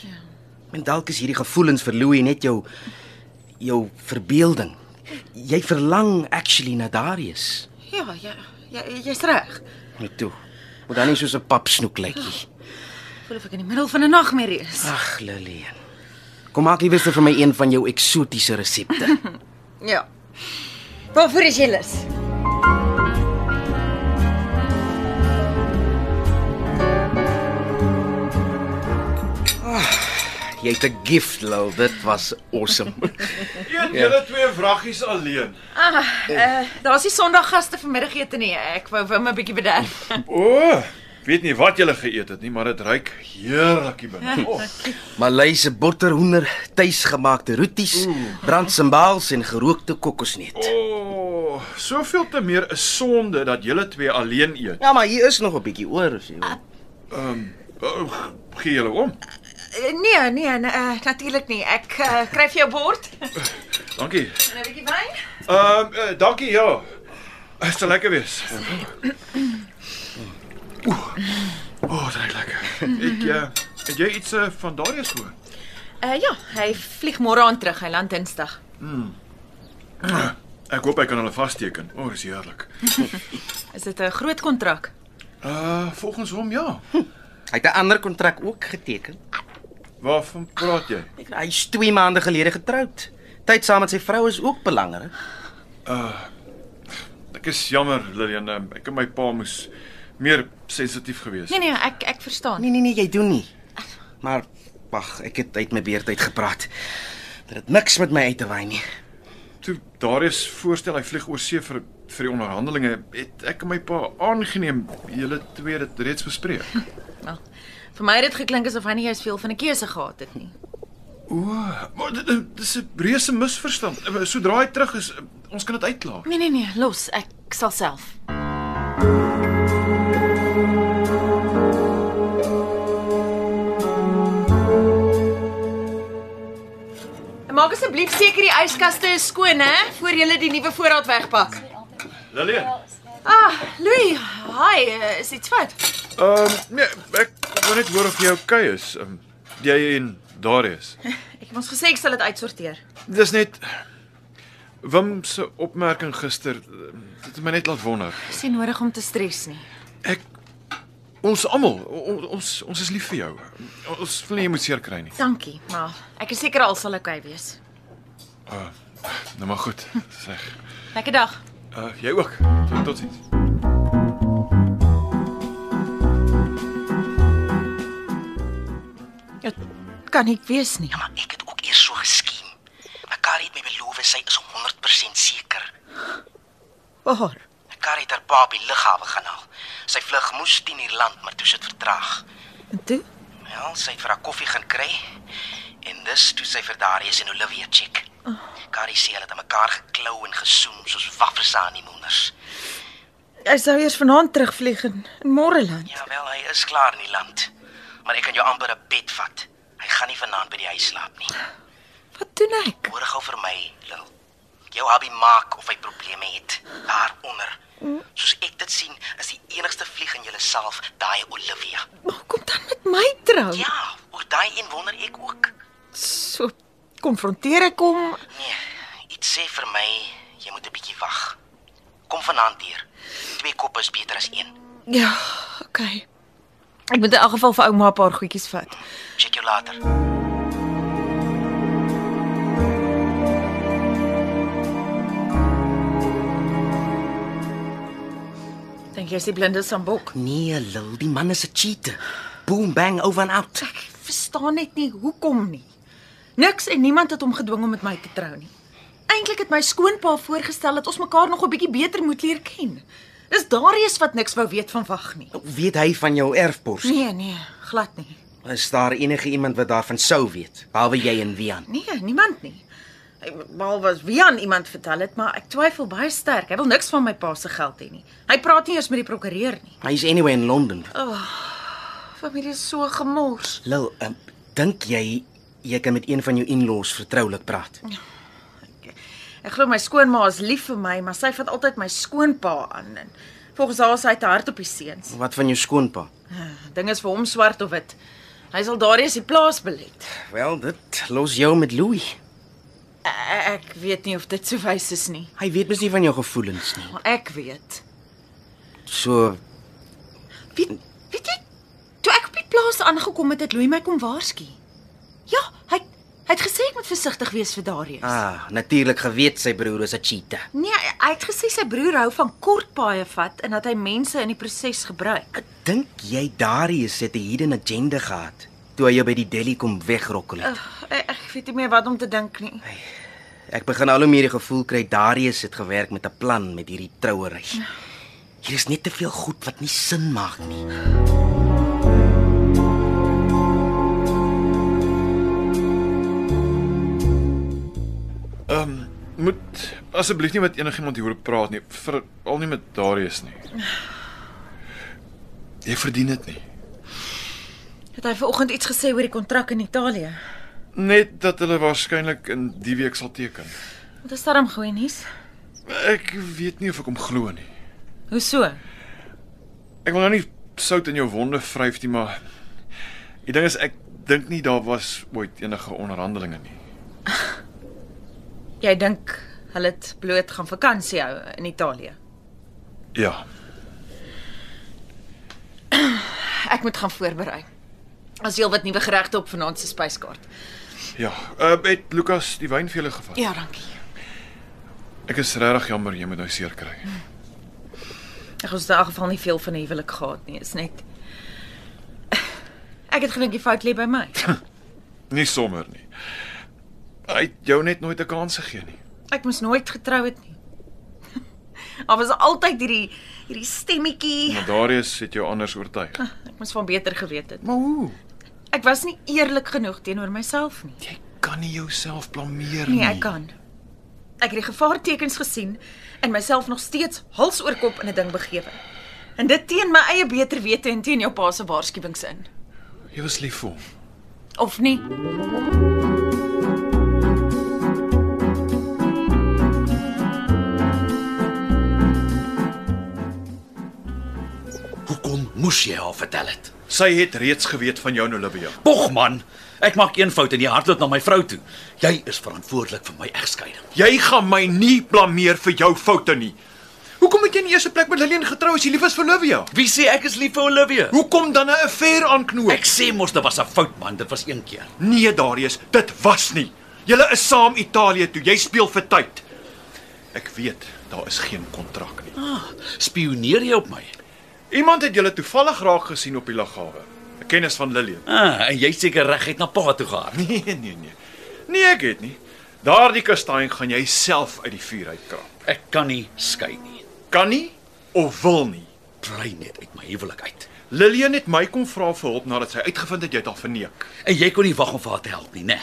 S3: Men dalk is hierdie gevoelens vir Louie net jou jou verbeelding. Jy verlang actually na Darius.
S6: Ja, ja, ja jy's reg.
S3: Net toe. Moet dan nie soos 'n papsnoek lyk nie.
S6: Voel of ek in die middel van 'n nagmerrie is.
S3: Ag, Lillian. Kom maak liewerste vir my een van jou eksotiese resepte.
S6: Ja.
S14: Waarvoor is jy lus?
S3: Jy het 'n gift, Lil. Dit was awesome.
S11: Een julle twee vraggies alleen.
S6: Ah, uh, daar's die Sondaggaste vanmiddagete nie. Ek wou vir hom 'n bietjie bederf.
S11: O, weet nie wat julle geëet het nie, maar dit ruik heerlik hier binne. Oh,
S3: Malayse botterhoender, tuisgemaakte roeties, brandsembaals en gerookte kokosnet.
S11: o, soveel te meer 'n sonde dat julle twee alleen eet.
S3: Ja, maar hier is nog 'n bietjie oor as jy wil.
S11: Ehm, um, oh, gee julle om.
S6: Eh, Nee, nee, nee uh, natuurlik nie. Ek uh, kry vir jou bord.
S11: Dankie.
S6: En 'n bietjie wyn.
S11: Ehm, um, uh, dankie ja. Dit sal lekker wees. Oeh. O, dit ruik lekker. Ek uh, het jy iets uh, van Darius gehoor?
S6: Uh, ja, hy vlieg môre aan terug. Hy land Dinsdag.
S11: Mm. Ek hoop ek kan hulle vasteken. O, oh, dis heerlik.
S6: Is dit 'n groot kontrak?
S11: Uh, volgens hom ja.
S3: Hy het 'n ander kontrak ook geteken.
S11: Waarvan praat jy?
S3: Hy is 2 maande gelede getroud. Tyd saam met sy vrou is ook belangrik.
S11: Uh Ek is jammer Lillian, um, ek en my pa moes meer sensitief gewees.
S6: Nee nee, ek ek verstaan.
S3: Nee nee nee, jy doen nie. Maar wag, ek het uit my beurt uit gepraat. Dit het niks met my uit te wy nie.
S11: Toe Darius voorstel hy vlieg oor see vir vir die onderhandelinge, het ek en my pa aangeneem julle twee dit reeds bespreek.
S6: Wel, vir my het dit geklink asof hy nie juist veel van 'n keuse gehad het nie.
S11: O, maar dit dit is 'n reuse misverstand. Eh, Sodra hy terug is, eh, ons kan dit uitklaar.
S6: Nee nee nee, los, ek sal self. En Maak asseblief seker die yskaste is skoon hè, voor jy die nuwe voorraad wegpak.
S11: Lillian.
S6: Ah, Louis, hi, eh, is dit fout?
S11: Ehm um, nee, ek wou net hoor of jy oukei is. Um, jy en Darius.
S6: Ek het ons gesê ek sal dit uitsorteer.
S11: Dis net Wim se opmerking gister eh, dit het my net laat wonder.
S6: Dis nie nodig om te stres nie.
S11: Ons almal, o- ons ons is lief vir jou. Ons wil nie jy moet seer kry nie.
S6: Dankie, maar ek is seker al sal oukei wees.
S11: Uh, nou maar goed. Sê.
S6: Lekker dag.
S11: Uh, jy ook. Tot, tot sins.
S6: Kan ek wees nie.
S15: Ja, maar ek het ook eers so geskien.
S16: Mekari het my beloof sy is 100% seker.
S6: Waar?
S16: Mekari het haar pa by lughawe gaan haal. Sy vlug moes 10 uur land, maar toe sit vertraag.
S6: En toe?
S16: Wel, sy het vir haar koffie gaan kry en dis toe sy vir Darius en Olivia check. Oh. Kari sê hulle het aan mekaar geklou en gesoem soos waffers aan die moeners.
S6: Hy sou eers vanaand terugvlieg in, in Moreland.
S16: Ja wel, hy is klaar in die land. Maar ek kan jou amper 'n bed vat. Hy gaan nie vanaand by die huis slaap nie.
S6: Wat doen ek?
S16: Hoor gou vir my, Lil. Jou hobby maak of hy probleme het daaronder. Soos ek dit sien, is die enigste vlieg in jouself daai Olivia.
S6: Met my trou.
S16: Ja, oor daai een wonder ek ook.
S6: So konfronteer ek hom.
S16: Iets sê vir my jy moet 'n bietjie wag. Kom vanaand hier. Twee koppe is beter as een.
S6: Ja, okay. Ek moet in elk geval vir ouma 'n paar goedjies vat.
S16: Check jou later.
S6: Dink jy is die blinde sambok?
S3: Nee, Lil, die man is 'n cheater. Boom bang over and out.
S6: Verstaan net nie hoekom nie. Niks en niemand het hom gedwing om met my te trou nie. Eintlik het my skoonpa voorgestel dat ons mekaar nog 'n bietjie beter moet leer ken. Dis Darius wat niks wou weet van wag nie.
S3: Weet hy van jou erfpos?
S6: Nee, nee, glad nie.
S3: Is daar enige iemand wat daarvan sou weet, behalwe jy en Wian?
S6: Nee, niemand nie. Behalwe as Wian iemand vertel het, maar ek twyfel baie sterk. Hy wil niks van my pa se geld hê nie. Hy praat nie eers met die prokureur nie.
S3: Hy's anyway in Londen.
S6: Oh, familie is so gemors.
S3: Lil, um, dink jy jy kan met een van jou in-laws vertroulik praat?
S6: Ek glo my skoonma is lief vir my, maar sy vat altyd my skoonpa aan en volgens haar is hy te hard op die seuns. Ah,
S3: Wat van jou skoonpa?
S6: Ding is vir hom swart of wit. Hy sal daardie as die plaas belet.
S3: Wel, dit los jou met Louis.
S6: E- Ek weet nie of dit so wys is nie,
S3: Hy weet mos nie van jou gevoelens nie.
S6: maar ek weet.
S3: So,
S6: Weet jy, toe ek op die plaas aangekom het, het Louis my kom waarsku. Ja, hy hy het gesê ek moet versigtig wees vir Darius.
S3: ah, natuurlik geweet sy broer is 'n cheater.
S6: Nee, hy het gesê sy broer hou van kort paaie vat en dat hy mense in die proses gebruik.
S3: Dink jy Darius het 'n hidden agenda gehad toe hy jou by die deli kom wegrokkel het?
S6: Ugh, ek, ek weet nie meer wat om te dink nie.
S3: Ek begin al hoe meer die gevoel kry Darius het gewerk met 'n plan met hierdie trouery. Hier is net te veel goed wat nie sin maak nie.
S11: Ehm um, moet asseblief nie met enigiemand hieroor praat nie, veral nie met Darius nie. Jy verdien dit nie.
S6: Het hy vanoggend iets gesê oor die kontrak in Italië?
S11: Net dat hulle waarskynlik in die week sal teken.
S6: Wat is daarom goeie nuus?
S11: Ek weet nie of ek hom glo nie.
S6: Hoe so?
S11: Ek wil nou nie sout in jou wonde vryf nie, maar die ding is ek dink nie daar was ooit enige onderhandelinge nie.
S6: Jy dink hulle het bloot gaan vakansie hou in Italië.
S11: Ja.
S6: Ek moet gaan voorberei. As jy al wat nuwe geregte op vanaand se spyskaart.
S11: Ja, uh, het Lukas die wyn vir julle gevat?
S6: Ja, dankie.
S11: Ek is regtig jammer jy moet nou seer kry.
S6: Ek het in elk geval nie veel van die huwelik gehad nie, is net Ek het gedink die fout lê by my.
S11: Nie sommer nie. Hy het jou net nooit 'n kans gegee nie.
S6: Ek moes nooit getrou het nie. Daar was altyd hierdie hierdie stemmetjie.
S11: Maar Darius het jou anders oortuig.
S6: Ek moes van beter geweet het.
S11: Maar hoe?
S6: Ek was nie eerlik genoeg teenoor myself nie.
S11: Jy kan nie jouself blameer
S6: Nee, ek kan. Ek het die gevaartekens gesien en myself nog steeds hals oor kop in 'n ding begewe. En dit teen my eie beter wete en teen jou pa se waarskuwings in.
S11: Jy was lief vir hom.
S6: Of nie?
S11: Hoekom moes jy haar vertel het? Sy het reeds geweet van jou en Olivia.
S4: Pog man, ek maak een fout en jy hardloop na my vrou toe. Jy is verantwoordelik vir my egskeiding.
S11: Jy gaan my nie blameer vir jou foute nie. Hoekom het jy in die eerste plek met Lillian getrou as jy lief is vir Olivia?
S4: Wie sê ek is lief vir Olivia?
S11: Hoekom dan 'n affair aanknoop?
S4: Ek sê mos dit was 'n fout man, dit was een keer.
S11: Nee, Darius, dit was nie. Julle is saam Italië toe. Jy speel vir tyd. Ek weet, daar is geen kontrak nie.
S4: Ah, spioneer jy op my?
S11: Iemand het julle toevallig raak gesien op die lughawe. 'n Kennis van Lillian.
S4: Ah, en jy het seker reguit na pa toe gehard.
S11: Nee, nee, nee. Nee, ek het nie. Daardie kastanje gaan jy self uit die vuur uitkrap.
S4: Ek kan nie skei nie.
S11: Kan nie of wil nie.
S4: Bly net uit my huwelik uit.
S11: Lillian het my kom vra vir hulp nadat sy uitgevind het jy het haar verneek.
S4: En jy kon nie wag om vir haar te help nie, né?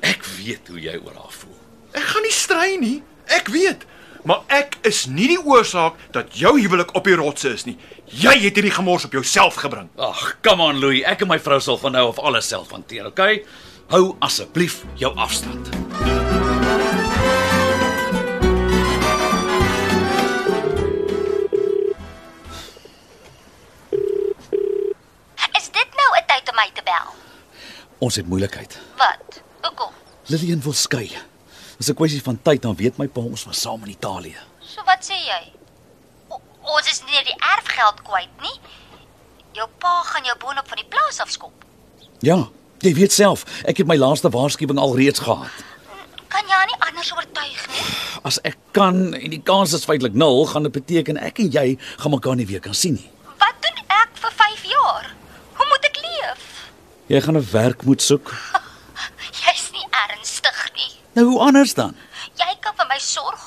S4: Ek weet hoe jy oor haar voel.
S11: Ek gaan nie strei nie. Ek weet. Maar ek is nie die oorsaak dat jou huwelik op die rotse is nie. Jy het hierdie gemors op jouself gebring.
S4: Ag, come on Louis, ek en my vrou sal van nou af alles self hanteer, okay? Hou asseblief jou afstand.
S9: Is dit nou 'n tyd om my te bel?
S4: Ons het moeilikheid.
S9: Wat? Hoekom?
S4: Lillian wil skei. Dis 'n kwessie van tyd, dan weet my pa ons was saam in Italië.
S9: So wat sê jy? O, ons is nie die erfgeld kwyt nie. Jou pa gaan jou boonop van die plaas afskop.
S4: Ja, jy weet self, ek het my laaste waarskuwing alreeds gehad.
S9: Kan jy haar nie anders oortuig nie?
S4: As ek kan en die kans is feitelik nul, gaan dit beteken ek en jy gaan mekaar nie weer kan sien nie.
S9: Wat doen ek vir 5 jaar? Hoe moet ek leef?
S4: Jy gaan 'n werk moet soek.
S9: Jy's nie ernstig nie.
S4: Nou hoe anders dan?
S9: Jy kan vir my sorg.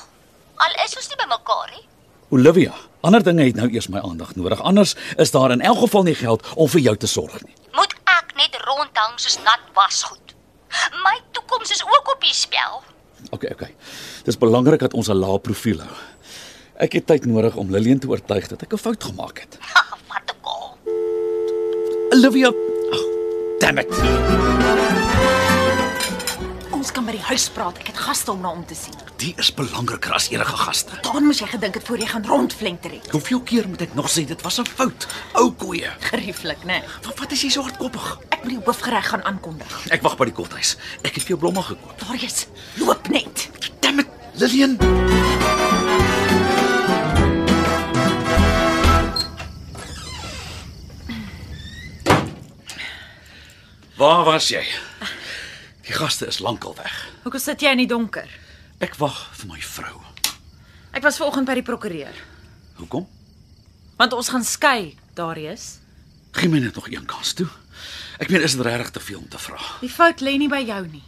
S9: Al is ons nie by mekaar nie.
S4: Olivia, ander dinge het nou eers my aandag nodig. Anders is daar in elk geval nie geld om vir jou te sorg nie.
S9: Moet ek net rondhang soos nat wasgoed. My toekoms is ook op die spel.
S4: Okay, okay. Dis belangrik dat ons 'n lae profiel hou. Ek het tyd nodig om Lillian te oortuig dat ek 'n fout gemaak het. Wat 'n kol. Olivia, oh, damn it.
S6: Ons kan by die huis praat. Ek het gaste om na om te sien.
S4: Die is belangriker as enige gaste.
S6: Daarom moes jy gedink het voor jy gaan rondflenker het.
S4: Hoeveel keer moet ek nog sê dit was 'n fout? Ou koeie.
S6: Gerieflik, né? Nee.
S4: Wat, wat is jy so hardkoppig?
S6: Ek moet die hoofgereg gaan aankondig.
S4: Ek wag by die kothuis. Ek het vir jou blomme gekoop.
S6: Daar is. Loop net.
S4: Damn it, Lillian. Waar was jy? Die gaste is lankal weg.
S6: Hoekom sit jy in die donker?
S4: Ek wag vir my vrou.
S6: Ek was vanoggend by die prokureur,
S4: Hoekom?
S6: want ons gaan skei, Darius.
S4: Gee my net nog een kans toe. Ek meen is dit regtig te veel om te vra?
S6: Die fout lê nie by jou nie.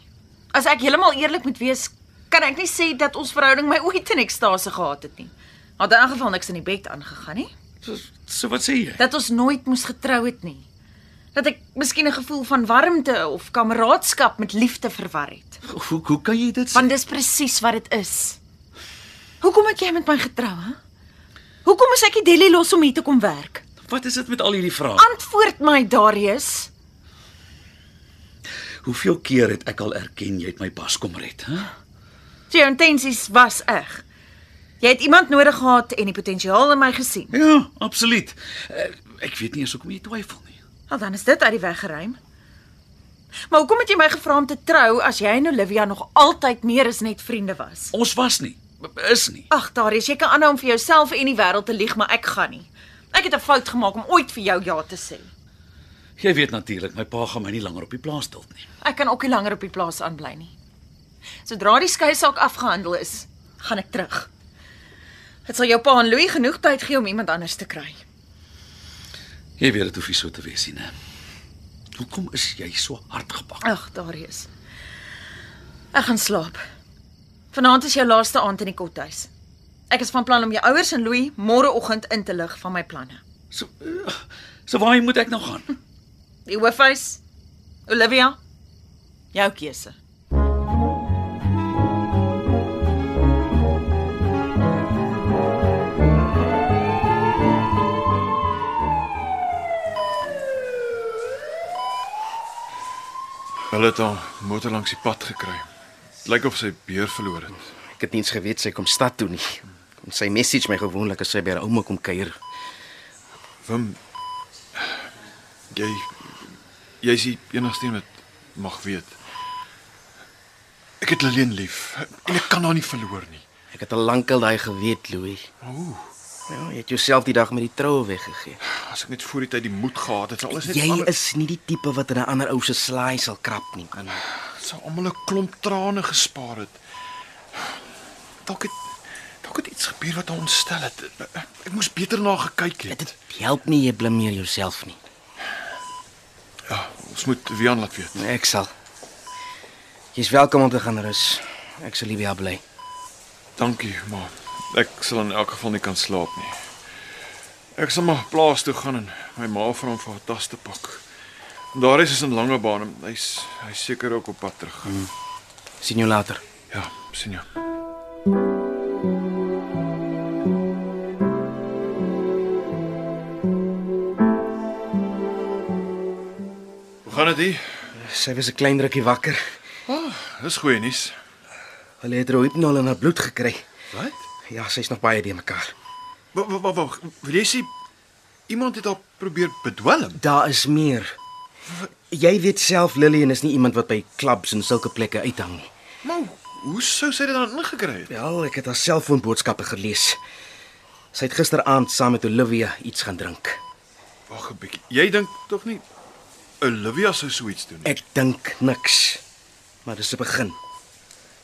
S6: As ek heeltemal eerlik moet wees, kan ek nie sê dat ons verhouding my ooit in ekstase gehad het nie. Maar in elk geval niks in die bed aangegaan nie.
S4: So, so wat sê jy?
S6: Dat ons nooit moes getrou het nie. Dat ek miskien 'n gevoel van warmte of kameraadskap met liefde verwar het.
S4: Hoe hoe kan jy dit sê?
S6: Want dis presies wat dit is. Hoekom het jy met my getrou, hè? Hoekom is ek die Delhi los om hier te kom werk?
S4: Wat is dit met al hierdie vrae?
S6: Antwoord my, Darius.
S4: Hoeveel keer het ek al erken jy het my pas kom red, hè?
S6: So jou intensies was eg. Jy het iemand nodig gehad en die potensiaal in my gesien.
S4: Ja, absoluut. Eh, Ek weet nie eens hoekom jy twyfel nie.
S6: Al dan is dit uit die weg geruim. Maar hoekom het jy my gevra om te trou as jy en Olivia nog altyd meer as net vriende was?
S4: Ons was nie. Is nie.
S6: Ag, Darius, jy kan aanhou om vir jouself en die wêreld te lieg, maar ek gaan nie. Ek het 'n fout gemaak om ooit vir jou ja te sê.
S4: Jy weet natuurlik, my pa gaan my nie langer op die plaas dalk nie.
S6: Ek kan ook nie langer op die plaas aanbly nie. Sodra die skei saak afgehandel is, gaan ek terug. Dit sal jou pa en Louis genoeg tyd gee om iemand anders te kry.
S4: Jy weet dit hoef nie so te wees nie, né? Hoekom is jy so hardgepak?
S6: Ag, Darius. Ek gaan slaap. Vanaand is jou laaste aand in die kothuis. Ek is van plan om jou ouers en Louis môreoggend in te lig van my planne.
S4: So eh, so waarheen moet ek nou gaan?
S6: Die hoofhuis, Olivia, jou keuse.
S11: Hulle het al motor langs die pad gekry. Het Lyk of sy beer verloor het.
S3: Ek het nie eens geweet sy kom stad toe nie. Kom sy message my gewoonlik as sy by haar ouma kom kuier.
S11: Wim jy jy's die enigste een wat mag weet. Ek het Lillian lief en ek kan haar nie verloor nie.
S3: Ek het al lankal daai geweet, Louis.
S11: Ooh,
S3: Ja, jy het jouself die dag met die troue weggegee.
S11: as ek net voor die tyd die moed gehad het, sal alles net
S3: Jy is nie die tipe wat in 'n ander ou se slaai sal krap nie. Man.
S11: sou almal 'n klomp trane gespaar het. Dalk het dalk het iets gebeur wat haar ontstel het. Ek, ek moes beter na haar gekyk het.
S3: Jy help nie jy blameer jouself nie.
S11: Ja, ons moet Wian laat weet.
S3: Nee, Ek sal. Jy's welkom om te gaan rus. Ek sal liever bly.
S11: Dankie, maar ek sal in elk geval nie kan slaap nie. Ek sal maar plaas toe gaan en my ma vra om vir haar tas te pak. Daar is is in Langebaan. en Hy's hy's seker ook op pad terug. Hmm.
S3: Sien jou later.
S11: Ja, sien jou. Hoe gaan dit? hier? Oh,
S3: Sy was 'n klein rukkie wakker.
S11: Ah. Dis goeie nuus.
S3: Hulle het roipnol in haar bloed gekry.
S11: Wat?
S3: Ja, sy's nog baie die mekaar.
S11: Wag, wag, wag. Wil jy sê iemand het haar probeer bedwelm?
S3: Daar is meer. Jy weet self Lillian is nie iemand wat by klubs en sulke plekke uithang nie.
S11: Maar hoe sou sy dit dan ingekry het?
S3: Wel, ek het haar selfoonboodskappe gelees. Sy het gisteraand saam met Olivia iets gaan drink.
S11: Wag 'n bietjie. Jy dink tog nie Olivia sou so iets doen nie.
S3: Ek dink niks. Maar dis 'n begin.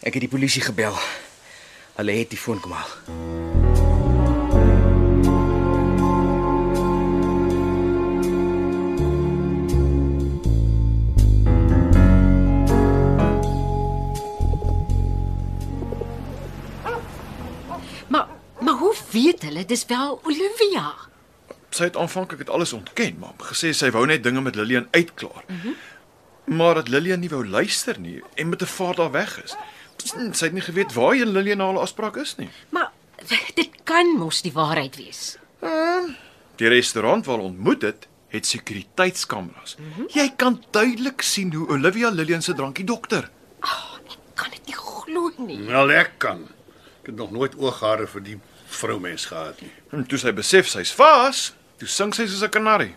S3: Ek het die polisie gebel. Hulle het die foon kom haal.
S17: Maar maar hoe weet hulle dis wel Olivia?
S11: Sy het aanvanklik dit alles ontken, maar gesê sy wou net dinge met Lillian uitklaar. Mm -hmm. Maar dat Lillian nie wou luister nie en met 'n vaart daar weg is. Sy het nie geweet waarheen Lilian haar afspraak is nie.
S17: Maar dit kan mos die waarheid wees.
S11: Hmm. Die restaurant waar hulle ontmoet het, het sekuriteitskameras. Mm -hmm. Jy kan duidelik sien hoe Olivia Lillian se drankie dokter.
S17: Glo nie.
S8: Wel ek kan. Ek het nog nooit ooghare vir die vroumens gehad nie.
S11: En toe sy besef sy's vas, toe sing sy soos 'n kanarie.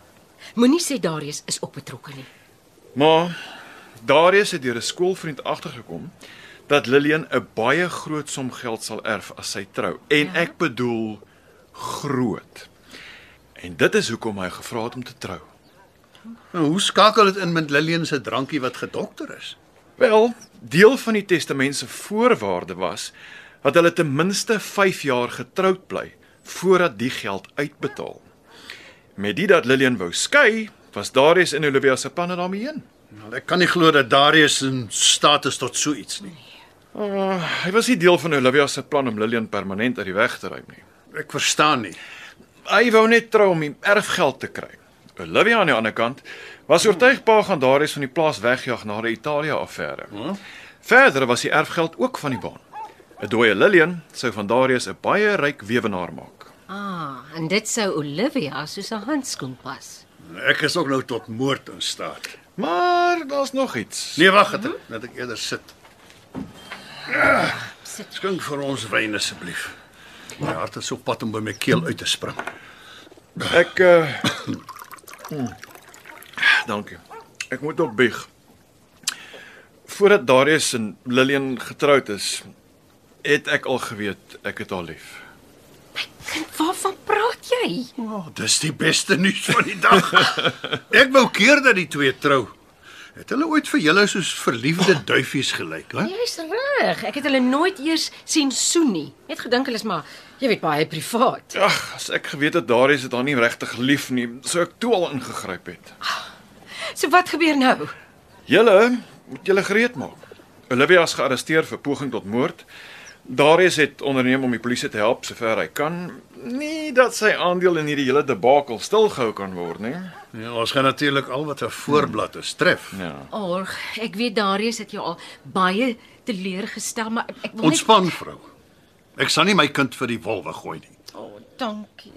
S17: Moenie sê Darius is ook betrokke nie.
S11: Maar Darius het deur 'n skoolvriend agtergekom dat Lillian 'n baie groot som geld sal erf as sy trou. En ja. ek bedoel groot. En dit is hoekom hy gevra het om te trou.
S8: Nou, hoe skakel dit in met Lillian se drankie wat gedokter is?
S11: Wel, deel van die testament se voorwaarde was dat hulle ten minste 5 jaar getroud bly voordat die geld uitbetaal. Met dit dat Lillian wou skei, was Darius en Olivia se planne daarmee heen.
S8: Nou, ek kan nie glo dat Darius in staat is tot so iets nie.
S11: Uh, hy was nie deel van Olivia se plan om Lillian permanent uit die weg te ruim nie.
S8: Ek verstaan nie.
S11: Hy wou net trou om die erfgeld te kry. Olivia aan die ander kant was oortuig pa gaan Darius van die plaas wegjaag na die Italië affære. Verder was die erfgeld ook van die baan. 'n Dooie Lillian sou van Darius 'n baie ryk weewenaar maak.
S17: Ah, en dit sou Olivia soos 'n handskoen pas.
S8: Ek is ook nou tot moord in staat.
S11: Maar daar's nog iets.
S8: Nee, wag net, dat ek eerder sit. Sit. Skink vir ons wyn asseblief. My hart is op pad om by my keel uit te spring.
S11: Ek uh Dankie. Ek moet ook bieg. Voordat Darius en Lillian getroud is, het ek al geweet ek het haar lief.
S17: Kind, waarvan praat jy?
S8: Oh, dis die beste nuus van die dag. Ek wou keer dat die twee trou. Het hulle ooit vir julle soos verliefde duifies gelyk, hè?
S17: Jy's reg. Ek het hulle nooit eers sien soen nie. Net gedink hulle is maar, jy weet, baie privaat.
S11: Ag, as ek geweet het Darius het haar nie regtig lief nie, sou ek toe al ingegryp het.
S17: So wat gebeur nou?
S11: Julle moet julle gereed maak. Olivia is gearresteer vir poging tot moord. Darius het onderneem om die polisie te help sover hy kan. Nie dat sy aandeel in hierdie hele debakel stilgehou kan word nie.
S8: Ja, ons gaan natuurlik al wat 'n voorblad is tref.
S11: Ja.
S17: Org, ek weet Darius het jou al baie teleurgestel, maar ek wil net
S8: Ontspan, vrou. Ek sal nie my kind vir die wolwe gooi nie.
S17: Oh, dankie.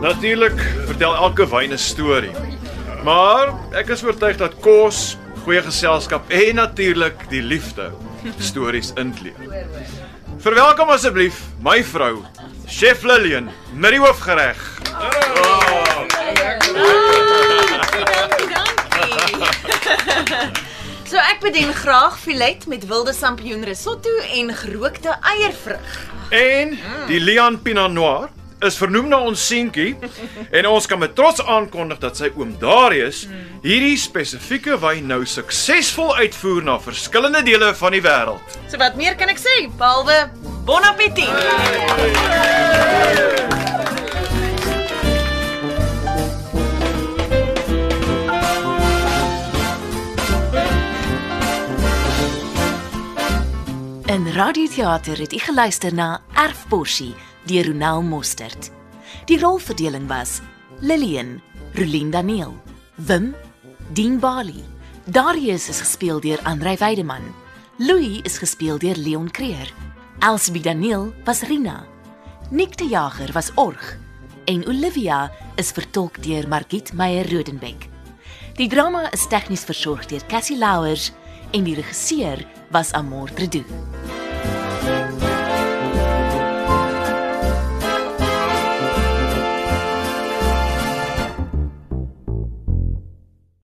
S11: Natuurlik vertel elke wyn 'n storie. Maar ek is oortuig dat kos, goeie geselskap en natuurlik die liefde stories intleer. Verwelkom asseblief my vrou, Chef Lillian, met die hoofgereg.
S6: So ek bedien graag filet met wilde sampioen risotto en gerookte eiervrug.
S11: En die Leon Pinot Noir is vernoem na ons seentjie en ons kan met trots aankondig dat sy oom Darius hierdie spesifieke wyn nou suksesvol uitvoer na verskillende dele van die wêreld.
S6: So wat meer kan ek sê behalwe bon appétit?
S1: In radioteater het u geluister na Erfporsie deur Ronel Mostert. Die rolverdeling was Lillian, Rolien Daniel, Wim, Dean Bali. Darius is gespeel deur Andrei Weideman. Louis is gespeel deur Leon Creer. Elsbie Daniel was Rina. Nick die Jager was Org en Olivia is vertolk deur Margit Meyer Rodenbeck. Die drama is tegnies versorg deur Cassie Louwers en die regisseur was Amor Tredu.